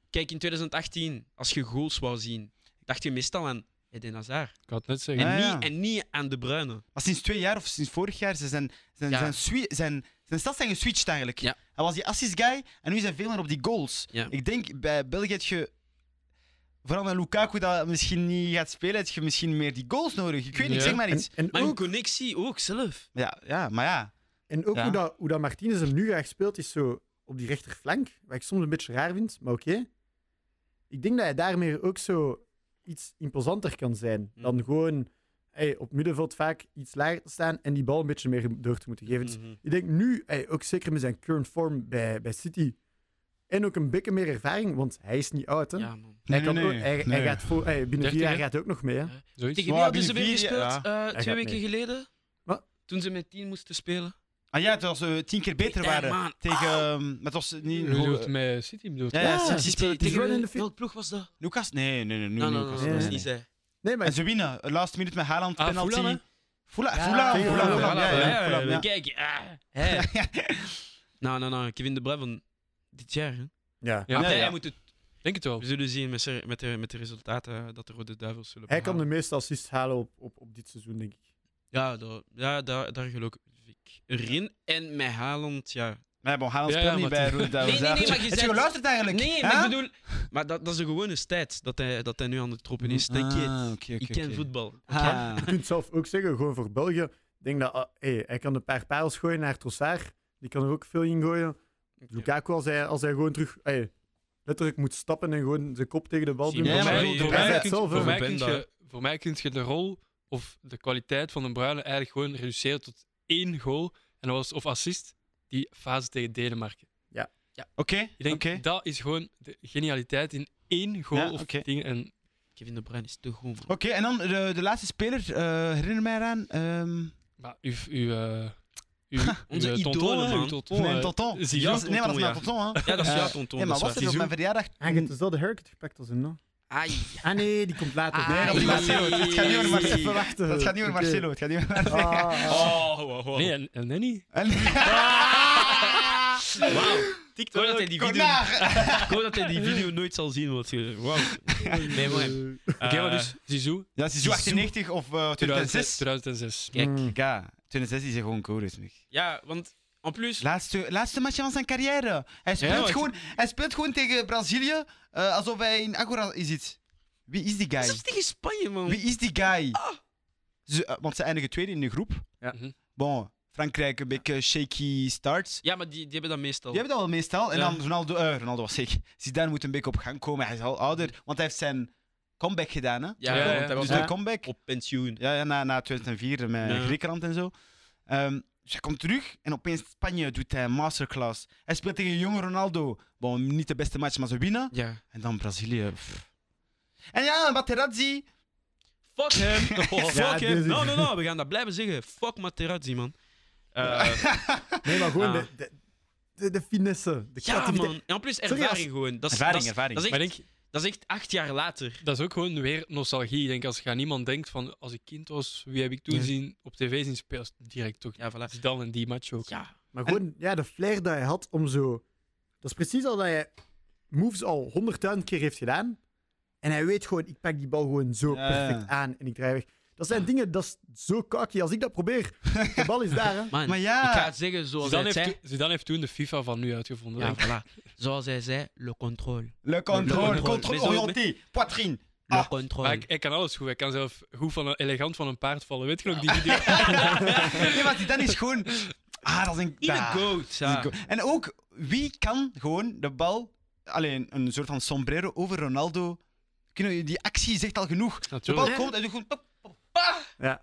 Kijk, in 2018, als je goals wou zien, dacht je meestal aan Eden Hazard. Ik had het net zeggen. En, Ja, ja. niet, en niet aan De Bruyne. Maar sinds twee jaar of sinds vorig jaar, ze zijn, zijn, Ja. zijn, swi- zijn, zijn stats zijn geswitcht eigenlijk. Ja. Hij was die assist guy en nu zijn veel meer op die goals. Ja. Ik denk bij België heb je, vooral met Lukaku, dat misschien niet gaat spelen, heb je misschien meer die goals nodig. Ik weet niet, Ja. zeg maar En, iets. en Maar een ook, connectie ook zelf. Ja, ja, maar ja. en ook Ja. hoe, dat, hoe dat Martinez hem nu graag speelt, is zo op die rechterflank. Wat ik soms een beetje raar vind, maar oké. Ik denk dat hij daarmee ook zo iets imposanter kan zijn. Hm. Dan gewoon hey, op middenveld vaak iets lager te staan en die bal een beetje meer door te moeten geven. Dus Mhm. Ik denk nu, hey, ook zeker met zijn current form bij, bij City. En ook een beetje meer ervaring, want hij is niet oud. Hè? Ja, man. hij, kan ook- hij, hij gaat voor, hey, binnen 13, vier jaar hè? gaat hij ook nog mee. Hè? Ja. Zoiets. Tegen wie Ja, hadden ze binnen weer vier- ja. gespeeld? eh, gaat twee weken mee. geleden? Wat? Toen ze met 10 moesten spelen. Ah ja, terwijl ze tien keer beter Eh, waren. man. Tegen, ehm, maar het was niet... Je bedoelt met City Eh. bedoelt. ja, je? ja, Ja, ze- ze City- spelen tegen tegen wel in de Tegen fi- welk ploeg was dat? Lucas? Nee, nee, nee. nee, Nee, nee, nee, nee, Lucas. dat was nee. niet zij. Nee, maar En ze winnen. Last minute met Haaland, Ah, penalty. Fulham, hè? Fulham, Ja, Fulham, tegen Fulham, Fulham, ja, ja, ja, Fulham, ja. Kijk, ah, hè. Nou, nou, nou, Kevin De Bruyne van dit jaar. Hè? ja. Ja, Ja, Hij ja. moet het, denk het wel. we zullen zien met, z'n- met, de, met de resultaten dat de Rode Duivels zullen hij kan de behalen. meeste assists halen op, op, op dit seizoen, denk ik. Ja, daar, ja daar, daar geloof ik erin. En met Haaland, ja. Nee, bon, Haaland Ja, speelt ja, niet maar bij toen- Rode Duivels. Nee, nee, nee, hè. maar je Heb je zei- geluisterd eigenlijk? Nee, maar Hè? ik bedoel... Maar dat, dat is een gewone tijd dat hij, dat hij nu aan de troppen is. Denk je het? Ah, oké, Ik oké, ken oké. voetbal. oké? Ah. (laughs) Je kunt zelf ook zeggen, gewoon voor België. Ik denk dat ah, hey, hij kan een paar parels gooien naar Trossard. Die kan er ook veel in gooien. Lukaku, als hij, als hij gewoon terug hey, letterlijk moet stappen en gewoon zijn kop tegen de bal Zie doen. je, Ja, maar maar voor- voor voor mij mij het kun- zelf, hè. voor mij Ik kun ben je- voor mij kun je de rol of de kwaliteit van de Bruyne eigenlijk gewoon reduceren tot één goal en dat was, of assist die fase tegen Denemarken. Oké, Ik denk, oké. dat is gewoon de genialiteit in één goal Ja, of oké. ding. En Kevin De Bruyne is te goed, man. Oké, en dan de, de laatste speler, eh, herinner mij eraan. ehm maar uw, uw, eh, (laughs) uw, Onze uw, eh, idolen, tonton, hè, uw man. tonton, nee, eh, Tonton. Zidane, Ja, nee, maar dat is Tonton, mijn Tonton, hè. Ja, dat is Eh, jouw tonton. Ja, maar dat was is er waar. op mijn verjaardag? Hij heeft Ah, dezelfde haircut gepakt als hem, no? Ai. Ah nee, die komt later. Nee, dat is Marcelo. Het gaat niet over Marcelo. Even wachten. Eh, Dat gaat niet over Oké. Marcelo, het gaat niet (laughs) over Marcelo. Ah, (laughs) Oh, ah. wow, wow. Nee, en, en Nanny? Wauw. Ik hoop dat hij die video- Konar. ik hoop dat hij die (laughs) video nooit zal zien. Want, je- wauw. Nee, Eh, maar... Eh, Oké, maar dus Zizou, Ja, ze is Zizou. 98 of eh, 2006. 2006. 2006. Kijk. Mm. Ja, 2006 is hij gewoon cool, Mich. Ja, want en plus, Laatste, laatste match van zijn carrière. Hij speelt, want- gewoon, hij speelt gewoon tegen Brazilië eh, alsof hij in Agora zit. Wie is die guy? zelfs tegen Spanje, man. Wie is die guy? Ze, eh, want ze eindigen tweede in de groep. Ja. Mhm. Bon, Frankrijk een beetje shaky starts. Ja, maar die, die hebben dat meestal. Je hebt dat wel meestal. En Ja. dan Ronaldo, eh, Ronaldo was ik. Zidane moet een beetje op gang komen. Hij is al ouder, want hij heeft zijn comeback gedaan. Hè? Ja, Ja, ja, want hij was Dus ja. de comeback. op pensioen. Ja, ja, na, na 2004 eh, met Ja. Griekenland en zo. Ehm, dus hij komt terug en opeens Spanje doet hij een masterclass. Hij speelt tegen jonge Ronaldo. Bon, niet de beste match, maar ze winnen. Ja. En dan Brazilië. pff. En ja, Materazzi. Fuck hem. fuck Ja, dit hem. is- No, no, no. We gaan dat blijven zeggen. Fuck Materazzi, (laughs) man. Eh, Nee, maar gewoon Ah. de, de, de, de finesse. De ja, creativiteit. man. En plus Sorry, ervaring als- gewoon. Dat is, Ervaring, dat is- ervaring. Dat is, Maar echt, ik denk, dat is echt acht jaar later. dat is ook gewoon weer nostalgie. Ik denk, als je aan iemand denkt van, als ik kind was, wie heb ik toen Ja. zien op tv zien spelen? Is het Direct toch. Ja, voilà. Zidane en die match ook. Dus Ja. Maar gewoon, ja, de flair dat hij had om zo... Dat is precies al dat hij moves al honderdduizend keer heeft gedaan. En hij weet gewoon, ik pak die bal gewoon zo Ja, ja. perfect aan en ik draai weg. Dat zijn dingen, dat is zo kakkie. Als ik dat (laughs) probeer, de bal is daar, hè. Man, Maar ja. ik ga het zeggen zoals Zidane, hij heeft, het toen- Zidane heeft toen de FIFA van nu uitgevonden. zei. denk ik. Ja, voilà. (laughs) Zoals hij zei, le contrôle. Le contrôle. controle, Mais contrôle zo- orienté, poitrine. Le Ah. Maar contrôle. ik- hij kan alles goed. Hij kan zelf goed van een, elegant van een paard vallen. Weet je nog die video? nee, maar Zidane is gewoon... Ah, dat is een... In Ah, a goat. dat is een ja. goal. En ook, wie kan gewoon de bal... Alleen een soort van sombrero over Ronaldo... Kunnen we- Die actie zegt al genoeg. De bal Natuurlijk. komt en doet gewoon... pop, pop. Ja.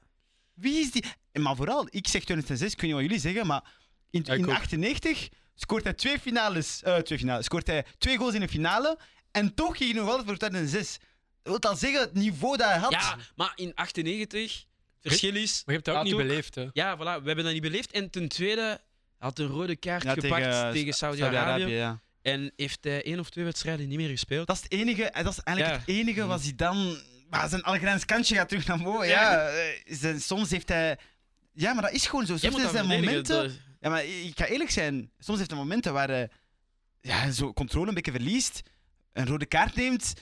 Wie is die... En Maar vooral, ik zeg 2006, ik weet niet wat jullie zeggen, maar... In, Ja, ik in ook. 98 scoort hij twee finales... eh, twee finales. Scoort hij twee goals in een finale. En toch ging hij nog altijd voor 2006. Dat wil dan zeggen, het niveau dat hij had... Ja, maar in 98, het verschil is... Maar je hebt dat ook Ja, niet toch? beleefd, hè? Ja, voilà, we hebben dat niet beleefd. En ten tweede hij had een rode kaart gepakt tegen, Saudi-Arabië. eh, ja. en heeft hij één of twee wedstrijden niet meer gespeeld. Dat is het enige, en dat is eigenlijk Ja. Mm. het enige wat hij dan. Maar zijn Algerijns kantje gaat terug naar boven. Ja. eh, zijn- soms heeft hij. Ja, maar dat is gewoon zo. Jij Soms moet heeft dat hij verdedigen, momenten. dat- Ja, maar ik ga eerlijk zijn. Soms heeft hij momenten waar hij ja, zo controle een beetje verliest. Eh, een rode kaart neemt,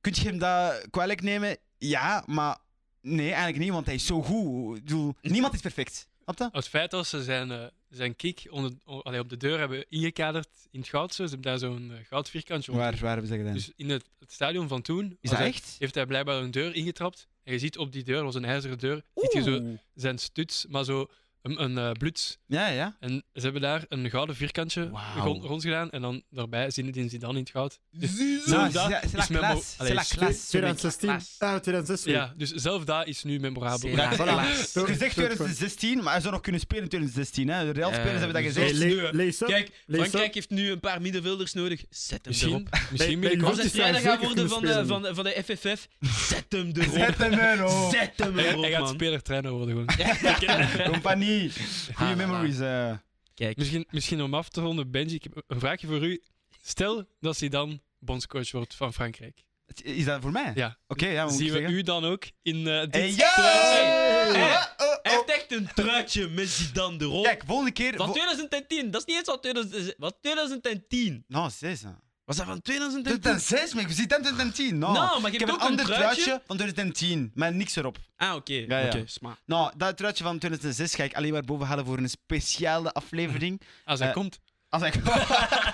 kun je hem dat kwalijk nemen? Ja, maar nee, eigenlijk niet, want hij is zo goed. Ik bedoel, niemand is perfect. Snap je? Het feit dat ze zijn, eh, zijn kick onder, o- allee, op de deur hebben ingekaderd in het goud, zo, ze hebben daar zo'n eh, goud vierkantje om. Waar, waar hebben ze dat gedaan? Dus in het, het stadion van toen is als dat hij- echt? heeft hij blijkbaar een deur ingetrapt. En je ziet op die deur, dat was een ijzeren deur, ziet je zo zijn stuts, maar zo een, een eh, bluts. Ja, ja. En ze hebben daar een gouden vierkantje Wauw. rond, rond gedaan en dan daarbij Zinedine Zidane in het goud. Nou, zelf dat c'est la- is c'est la mijn mo- classe, Allee, c'est la stu- classe. sorry. 2016. Ah, 2016. Ja, dus zelf dat is nu memorabel. Zeer voilà. helaas. Sorry, Gezegd sorry, sorry. 2016, maar hij zou nog kunnen spelen in 2016. Hè. De Real-spelers Eh, hebben dus dat nee. gezegd. Hey, le- Nu, hè. lees op. Kijk, (laughs) Lees op. Frankrijk heeft nu een paar middenvelders nodig. Zet hem Misschien, erop. misschien Nee, binnenkort. Als Juventus het vrijdag zou gaat zeker worden van de, kunnen van, de, van de FFF, zet hem erop. (laughs) (laughs) Zet (laughs) hem erop. Zet hem Hij, erop, hij gaat man. speler-trainer worden gewoon. (laughs) Compagnie. Goede Ah, memories. eh. Kijk, Misschien, misschien om af te ronden, Benji, ik heb een vraagje voor u. Stel dat hij dan bondscoach wordt van Frankrijk. Is dat voor mij? Ja. Oké, ja, wat moet Zien ik we zeggen? u dan ook in eh, dit Hey, ja! truitje. Hey! Hey. Oh, oh, hij oh. heeft echt een truitje met Zidane erop. Kijk, volgende keer... Van vol- 2010, dat is niet eens van 2010. Wat 2010? Nou, zes. hè. Was dat van 2010? 2006, maar ik zie 2010. Nou, Nou, maar je ik heb hebt een ook een ander truitje. truitje van 2010, maar niks erop. Ah, oké. Ja, ja. Oké, smaak. Nou, dat truitje van 2006 ga ik alleen maar bovenhalen voor een speciale (laughs) aflevering. Als hij Eh, komt. Als (laughs) ik...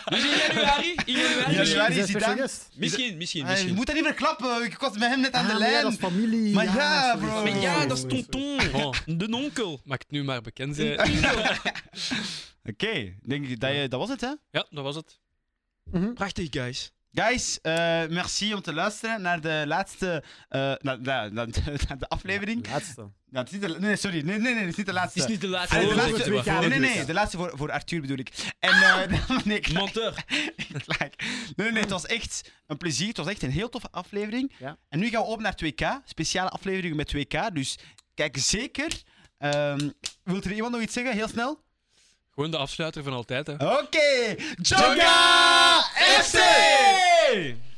Dus in januari? In januari? Ja, ja. misschien, Januari is hij dan. misschien, misschien. Hey, je misschien. Ah, moet dat niet verklappen, ik was met hem net aan de Ah, Ja, dat lijn. is familie. Maar ja, sorry, bro. sorry, Maar ja, sorry, dat is sorry, sorry. tonton. Oh, De onkel. maak het nu maar bekend. eh. Zijn. Oké, denk ik dat, je, dat was het, hè? Ja, dat was het. Mhm. Prachtig, guys. Guys, eh, merci om te luisteren naar de laatste. eh, naar, naar- naar de- naar (laughs) de aflevering. Laatste. Nou, het is niet de, nee, sorry. Nee, nee, nee, het is niet de Het laatste. is niet de laatste. Allee, de Oh, laatste- het WK. Ah, Nee, nee, nee, Ja. de laatste voor, voor Arthur bedoel ik. En. (laughs) eh nee, ik- Monteur. ik laak. Nee, nee, nee, het was echt een plezier. Het was echt een heel toffe aflevering. Ja. En nu gaan we op naar 2K. Speciale afleveringen met 2K. Dus kijk zeker. Ehm wilt er iemand nog iets zeggen? Heel snel. Gewoon de afsluiter van altijd. Hè. Oké. Joga FC!